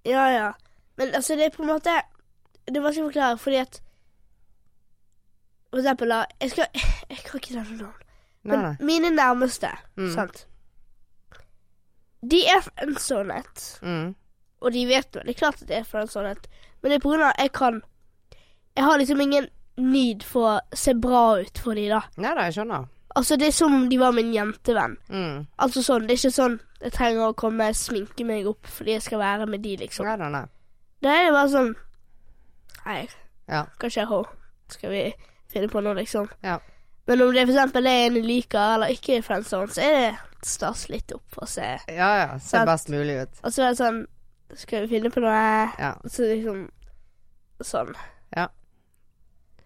Speaker 2: Ja, ja. Men altså, det er på en måte Det er vanskelig å forklare, fordi at For eksempel, da Jeg skal Jeg kan ikke nevne navn.
Speaker 1: Nei,
Speaker 2: Men
Speaker 1: nei.
Speaker 2: mine nærmeste,
Speaker 1: Mm.
Speaker 2: sant De er friendzonet.
Speaker 1: Mm.
Speaker 2: Og de vet veldig klart at det er for en sannhet. Men det er på grunn av at jeg kan Jeg har liksom ingen need for å se bra ut for de da.
Speaker 1: Nei da, jeg skjønner.
Speaker 2: Altså, det er som om de var min jentevenn.
Speaker 1: Mm.
Speaker 2: Altså sånn, det er ikke sånn jeg trenger å komme og sminke meg opp fordi jeg skal være med de, liksom.
Speaker 1: Nei da, nei.
Speaker 2: Da er det bare sånn Nei,
Speaker 1: Ja.
Speaker 2: kanskje jeg har Skal vi finne på noe, liksom.
Speaker 1: Ja.
Speaker 2: Men om det for eksempel er en jeg liker eller ikke er friendzone, så er det stas litt opp og se.
Speaker 1: Ja ja, ser
Speaker 2: Sant.
Speaker 1: best mulig ut.
Speaker 2: Og så er det sånn Skal vi finne på noe?
Speaker 1: Ja.
Speaker 2: Så liksom Sånn.
Speaker 1: Ja.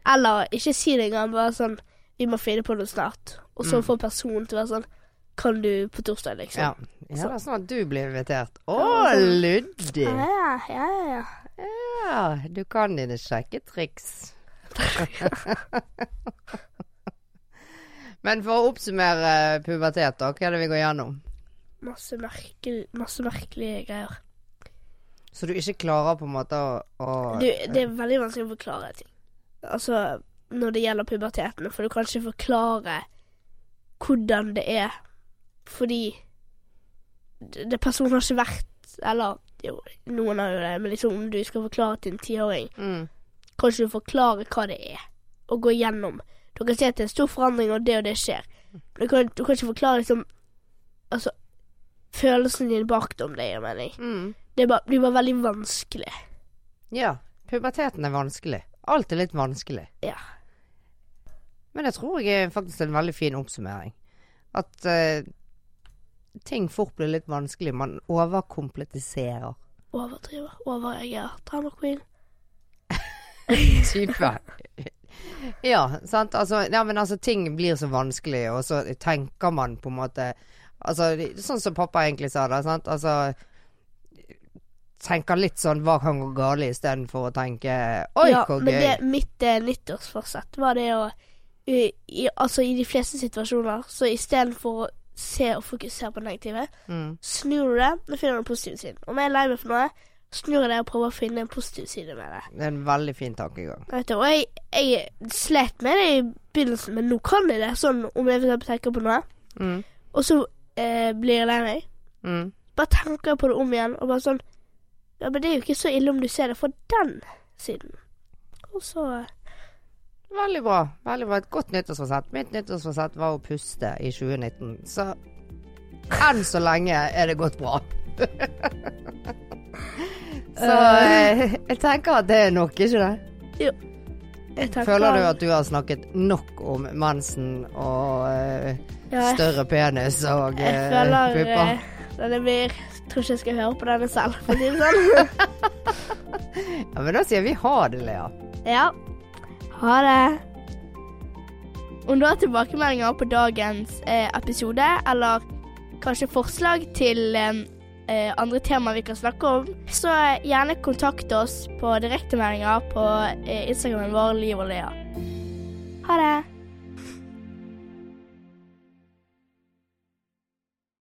Speaker 2: Eller ikke si det engang, bare sånn Vi må finne på noe snart. Og så
Speaker 1: Mm.
Speaker 2: få personen til å være sånn Kan du på torsdag, liksom?
Speaker 1: ja. ja det er sånn at du blir invitert. Å,
Speaker 2: Ja, sånn.
Speaker 1: Luddi!
Speaker 2: ja, ja. ja, ja.
Speaker 1: Ja, du kan dine kjekke
Speaker 2: [laughs]
Speaker 1: triks. Men for å oppsummere eh, pubertet, da, hva er det vi går gjennom?
Speaker 2: Masse, merkel, masse merkelige greier.
Speaker 1: Så du ikke klarer på en måte å, å
Speaker 2: Du, det er veldig vanskelig å forklare ting. Altså når det gjelder puberteten, for du kan ikke forklare hvordan det er, fordi det, det personen har ikke vært Eller jo, noen har jo det, men liksom om du skal forklare til en tiåring
Speaker 1: mm,
Speaker 2: Kanskje du forklarer hva det er, og går gjennom. Du kan si at det er en stor forandring, og det og det skjer. Du kan, du kan ikke forklare liksom Altså følelsen din bak det, om det gir mening.
Speaker 1: mm.
Speaker 2: Det er bare, blir bare veldig vanskelig.
Speaker 1: Ja, puberteten er vanskelig. Alt er litt vanskelig.
Speaker 2: Ja.
Speaker 1: Men jeg tror jeg er faktisk en veldig fin oppsummering. At eh, ting fort blir litt vanskelig. Man overkompletiserer
Speaker 2: Overdriver, overreagerer, drama queen.
Speaker 1: type. [laughs] ja, sant. Altså, ja, men altså, ting blir så vanskelig, og så tenker man på en måte Altså, det- sånn som pappa egentlig sa det, sant. Altså Tenker litt sånn hva kan gå galt istedenfor å tenke oi,
Speaker 2: ja,
Speaker 1: hvor gøy.
Speaker 2: men det, mitt eh, nyttårsforsett var det å i, i, Altså i de fleste situasjoner, så istedenfor å se og fokusere på det negative,
Speaker 1: Mm,
Speaker 2: snur du det og finner den positive siden. Om jeg er lei meg for noe, snur jeg det og prøver å finne en positiv side med det.
Speaker 1: det er en veldig fin tankegang.
Speaker 2: Vet du, og jeg, jeg slet med det i begynnelsen, men nå kan jeg det. Sånn om jeg for eksempel tenker på noe,
Speaker 1: Mm,
Speaker 2: og så eh, blir jeg lei meg.
Speaker 1: mm.
Speaker 2: Bare tenker jeg på det om igjen, og bare sånn Ja, men det er jo ikke så ille om du ser det fra den siden. Og så eh,
Speaker 1: Veldig bra. veldig bra. Et godt nyttårsforsett. Mitt nyttårsforsett var å puste i 2019, så enn så lenge er det gått bra. [laughs] eh, så eh, jeg tenker at det er nok, ikke det?
Speaker 2: Jo. Jeg takker.
Speaker 1: Føler du at du har snakket nok om mensen og eh,
Speaker 2: ja, jeg,
Speaker 1: større penis og
Speaker 2: jeg
Speaker 1: eh,
Speaker 2: føler
Speaker 1: pupper?
Speaker 2: eh, denne blir Jeg tror ikke jeg skal høre på denne selv, for å si det sånn.
Speaker 1: Ja, men da sier vi ha det, Lea.
Speaker 2: Ja. Ha det. Om du har tilbakemeldinger på dagens eh, episode, eller kanskje forslag til eh, eh, andre temaer vi kan snakke om, så gjerne kontakt oss på direktemeldinger på eh, Instagramen vår eh, Liv og Lea.